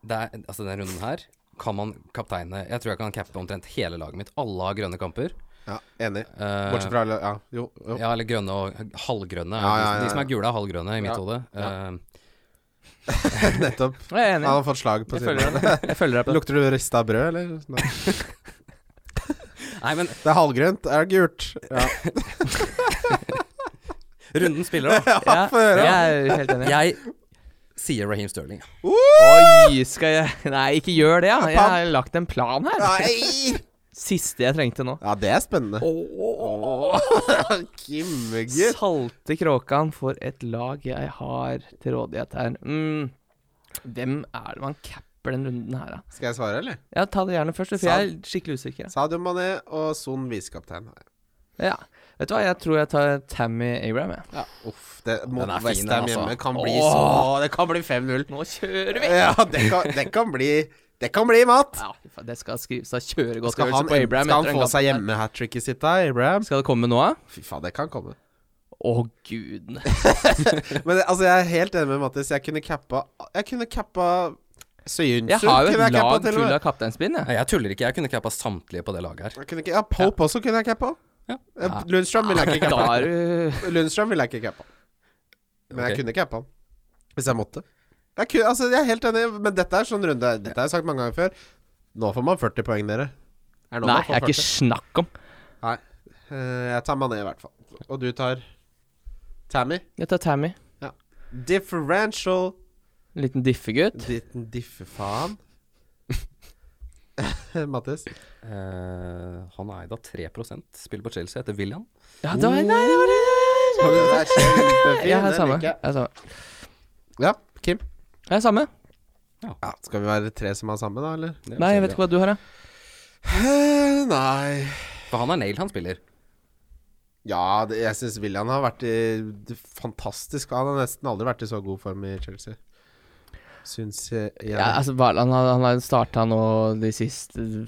Det er, altså den runden her kan man kapteine Jeg tror jeg kan cappe omtrent hele laget mitt. Alle har grønne kamper. Ja, enig. Eh, Bortsett fra Ja, jo. jo. Ja, eller grønne og halvgrønne. Ja, ja, ja, De som er ja. gule, er halvgrønne i mitt Ja, hode. Eh, Nettopp. Jeg er Han enig. har fått slag på Jeg siden. følger deg. Jeg følger deg på det. Lukter du rista brød, eller? Nei. nei, men Det er halvgrønt, er det gult? Ja. Runden spiller, da. Ja, få høre. jeg er helt enig. Jeg sier Raheem Sterling. Oi, skal jeg Nei, ikke gjør det, ja. Jeg har lagt en plan her. Nei! Siste jeg trengte nå. Ja, det er spennende. Kim, gutt. Salte Kråkan for et lag jeg har til rådighet her. Mm. Hvem er det man capper den runden her, da? Skal jeg svare, eller? Ja, Ta det gjerne først, for jeg er skikkelig usikker. ja. Sadio Mané og Son visekaptein. Ja. Vet du hva, jeg tror jeg tar Tammy Abraham, jeg. Ja, uff, det mot Den er fin, Westham den, altså. hjemme kan bli så Det kan bli 5-0. Nå kjører vi! Ja, det kan, det kan bli Det kan bli mat. Ja, fy faen, det skal skrives av kjøregodtgjørelse Skal han, på Abraham. skal han etter den få kampen seg der. hjemme-hat-tricket sitt da, Abraham? Skal det komme nå, da? Fy faen, det kan komme. Å, gudene. Men det- altså, jeg er helt enig med Mattis. Jeg kunne cappa Jeg kunne cappa Søyunsu. Jeg har jo kunne et cappa til lag og med. fullt av kapteinspinn, jeg. Nei, Jeg tuller ikke. Jeg kunne cappa samtlige på det laget her. Jeg kunne ikke, ja, Pope også kunne jeg cappa. Ja. Eh, Ah. Lundstrøm ville jeg ikke Da cappa. er du Lundstrøm ville jeg ikke cappa. Men jeg Ok. kunne cappa han. Hvis jeg måtte. Jeg, kunne, altså, jeg er helt enig, men dette er sånn runde Dette har jeg sagt mange ganger før. Nå får man 40 poeng, dere. Er det nå Nei, man får jeg er ikke 40? snakk om. Nei. Eh, jeg tar Mané i hvert fall. Og du tar Tammy. Jeg tar Tammy. Differential Liten diffegutt. Ditten diffefaen. Mattis. Eh, han er eid av 3 spiller på Chelsea, heter William. Ja, det var, nei, det var det. Den er kjempefin, Jeg den er samme. liker Jeg jeg. er samme. Ja, Kim. Jeg er samme. Ja, skal vi være tre som er sammen, da, eller? Det er Nei, jeg vet Chelsea, ikke hva du har, jeg. Eh, nei ja. For han er nail, han spiller. Ja, det, jeg syns William har vært i, det, fantastisk. Han har nesten aldri vært i så god form i Chelsea. Syns jeg. jeg Ja, altså, Haaland har- han har starta nå de siste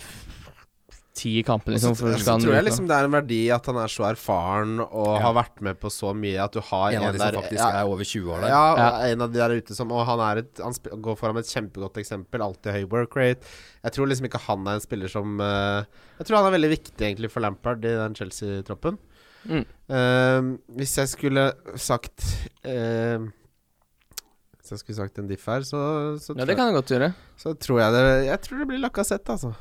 ti kampene, liksom. så, før så skal han tror ut jeg nå. liksom det er en verdi at han er så erfaren og har vært med på så mye at du har En av de som der- faktisk ja, er over 20 år der. Ja, og en av de der ute som Og han, er et, han sp- går foran med et kjempegodt eksempel. Alltid høy work rate. Jeg tror liksom ikke han er en spiller som eh, Jeg tror han er veldig viktig egentlig for Lampard i den Chelsea-troppen. Mm. Eh, hvis jeg skulle sagt eh, Hvis jeg skulle sagt en diff her, så, så, Ja, tror, det kan du godt gjøre. jeg, så tror jeg det Jeg tror det blir Lacassette, altså.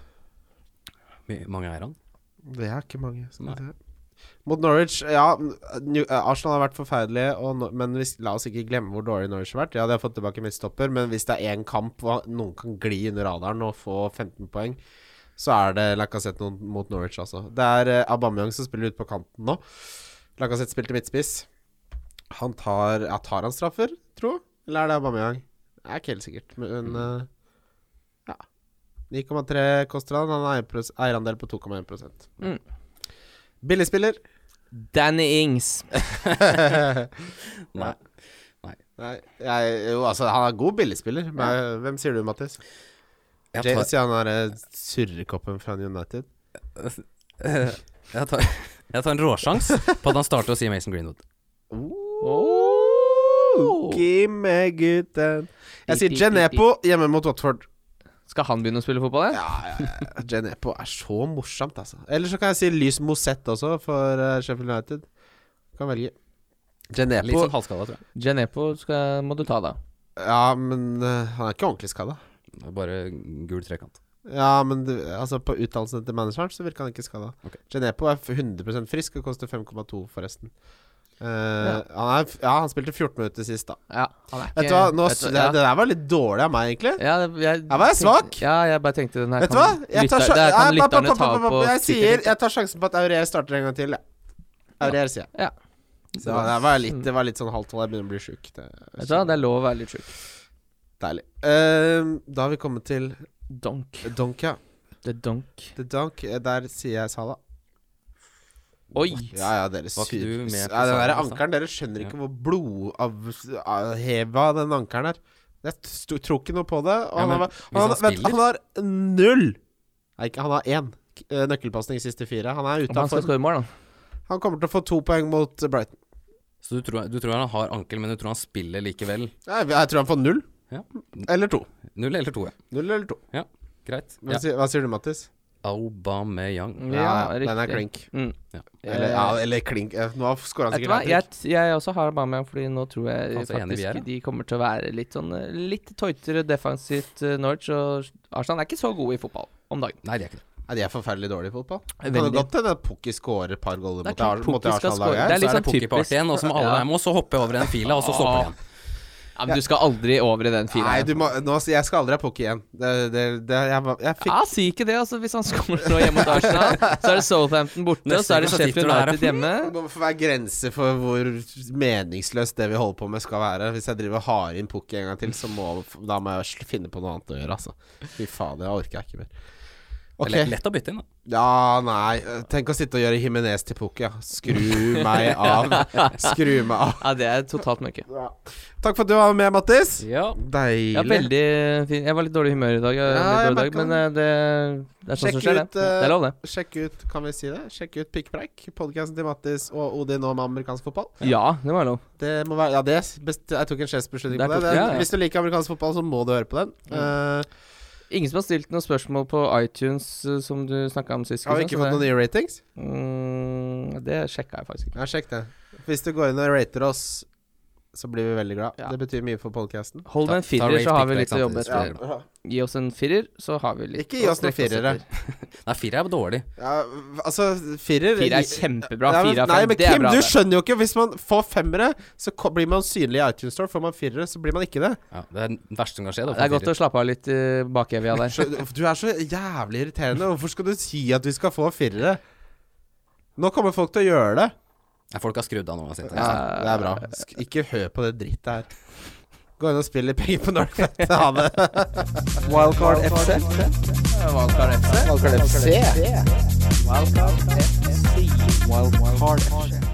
Hvor mange er han? Det er ikke mange. Skal Nei. vi se. Mot Norwich Ja, New, eh, Arsenal har vært forferdelige, og, Nor- men hvis, la oss ikke glemme hvor dårlig Norwich har vært. Ja, de har fått tilbake midtstopper, men hvis det er én kamp hvor noen kan gli under radaren og få 15 poeng, så er det Lacassette noen- mot Norwich, altså. Det er eh, Aubameyang som spiller ute på kanten nå. Lacassette spilte midtspiss. Han tar ja, Tar han straffer, tro? Eller er det Aubameyang? Det er ikke helt sikkert, men eh, ja. 9,3 koster han. Han har eier- eierandel på 2,1 Mm. Billigspiller. Danny Ings. Nei. Nei, jeg, jo, altså, han er god billigspiller. Men hvem sier du, Mattis? Jeg tar, James, ja, han derre surrekoppen fra United. jeg tar, jeg tar en råsjans på at han starter å si Mason Greenwood. Oh. Gimme gutten. Jeg sier I- i- Genepo hjemme mot Watford. Skal han begynne å spille fotball? Ja. Ja, ja, ja. Genepo er så morsomt, altså. Eller så kan jeg si Lys Mosette også, for eh, Sheffield United. Kan velge. Litt Genepo sånn halvskada, tror jeg. Genepo skal, må du ta, da. Ja, men eh, han er ikke ordentlig skada. Det er Bare gul trekant. Ja, men du, altså på uttalelsene til manageren så virker han ikke skada. Ok. Genepo er f- 100 frisk og koster 5,2 forresten. Eh, han er, f- ja, han spilte 14 minutter sist, da. Ja, han er ikke Vet du hva, Nå, Vet s- du- det, ja. det der var litt dårlig av meg, egentlig. Ja, det, jeg, Her var jeg tenkte- svak. Ja, jeg bare tenkte den her Vet du hva? Jeg tar, lytter, sja- det her Nei, papp, papp, kan lytterne papp, ta papp, på papp, jeg, Twitter, sier, tenkte jeg tar sjansen på at Aurier starter en gang til. jeg. Aurier, sier jeg. Ja. Så det var litt, det var litt sånn halvt tolv. Jeg begynner å bli sjuk. Det Vet du hva, det er lov å være litt sjuk. Deilig. Eh, da har vi kommet til Donk. Donk, ja. The donk. The Donk. eh, Der sier jeg Salah. Oi! Ja, ja, dere Var ikke syr- du med ja, på altså? den der salen i stad? ankeren, dere skjønner ikke hvor blodavheva den ankeren er. Jeg sto- tror ikke noe på det. Og Ja, han, men har, hvis han, han vet, spiller- han har null Nei, ikke han har én k- eh, nøkkelpasning siste fire. Han er Om ute han av skal form. skåre mål, da. Han kommer til å få to poeng mot eh, Brighton. Så du tror, du tror han har ankel, men du tror han spiller likevel? Nei, jeg tror han får null. Ja. Eller to. Null eller to, ja. Null eller to. ja. Greit. Hva, Ja. sier, hva sier du, Mattis? Aubameyang. Ja, den er riktig. klink. Mm. Ja. Eller, ja, eller klink eh, Nå skårer han Vet du sikkert hva, hat-trick. jeg, jeg også har Aubameyang, fordi nå tror jeg Faen, så enige vi faktisk er, da. de kommer til å være litt sånn eh, Litt tøytere defensivt eh, Norwich, og Arsenal er ikke så gode i fotball om dagen. Nei, det er ikke det. Nei, de er forferdelig dårlige i fotball. Kan Veldig. det godt hende at Pukki scorer et par goller Det mot er klart Ar- mot Pukki skal score. Arsenal-laget. her. Det er litt så er sånn det pokerparty typisk. igjen, og så må alle være med, og så hoppe jeg over i den fila, og så stopper jeg igjen. Ja, men du skal aldri over i den fila. Nei, du må, nå, jeg skal aldri ha Pukki igjen. Det, det, det, jeg, var- jeg fikk Ja, si ikke det, altså. Hvis han scorer nå hjemme mot Arsenal, så er det Southampton borte, og så er det Neste gang så sitter Sheffield du her, United ja. hjemme. Det må få være grenser for hvor meningsløst det vi holder på med skal være. Hvis jeg driver og har inn Pukki en gang til, så må, da må jeg sl- finne på noe annet å gjøre, altså. Fy faen, det orker jeg ikke mer. Det er Ok, lett- Lett å bytte inn, da. ja, nei Tenk å sitte og gjøre Himinez til Pukki, ja. Skru meg av. Skru meg av. Ja, det er totalt mørke. Takk for at du var med, Mattis. Ja. Deilig. Ja, veldig fin. Jeg var litt dårlig i humør i dag, Ja, jeg, litt jeg dårlig dag merker men eh, det, det er sånn Sjekk som skjer, ut, det. eh, Det er lov, det. Sjekk ut, kan vi si det? Sjekk ut Pikkpreik, podkasten til Mattis og Odin om amerikansk fotball. Ja, det var lov. Det må være, ja, det best, Jeg tok en sjefsbeslutning Der på det. tok det du- ja, Mm. ja. Hvis du liker amerikansk fotball, så må du høre på den. Eh, Ingen som har stilt noen spørsmål på iTunes, eh, som du snakka om sist? har vi Kristian, ikke så fått noen det- nye ratings? Mm, det sjekka jeg faktisk ikke. Ja, sjekk det. Hvis du går inn og rater oss, så blir vi veldig glad. Ja. Det betyr mye for podkasten. Hold Ta- med en ta firer, Rave så har Pick vi Break litt å jobbe samtidig, etter. så Gi oss en firer, så har vi litt Ikke gi å oss noen strekke oss firere. etter. Nei, fire er dårlig. Ja, altså, firer Fire er kjempebra. Nei, men- Fire av Nei, fem, men det er Kim, bra. du det. skjønner jo ikke. Hvis man får femmere, så ko- blir man synlig i iTunes Store. Får man firere, så blir man ikke det. Ja, det er det verste som kan skje. Da, Det er godt å slappe av litt eh, i bakevja der. Så- Du er så jævlig irriterende. Hvorfor skal du si at vi skal få firere? Nå kommer folk til å gjøre det. Nei, Folk har skrudd av nå. Jeg sitter. Ja, det er bra. Sk ikke hør på det drittet her. Gå inn og spill litt penger på Norcfet. Ha det. Wildcard FC. Wildcard FC. Wildcard FC. Wildcard FC.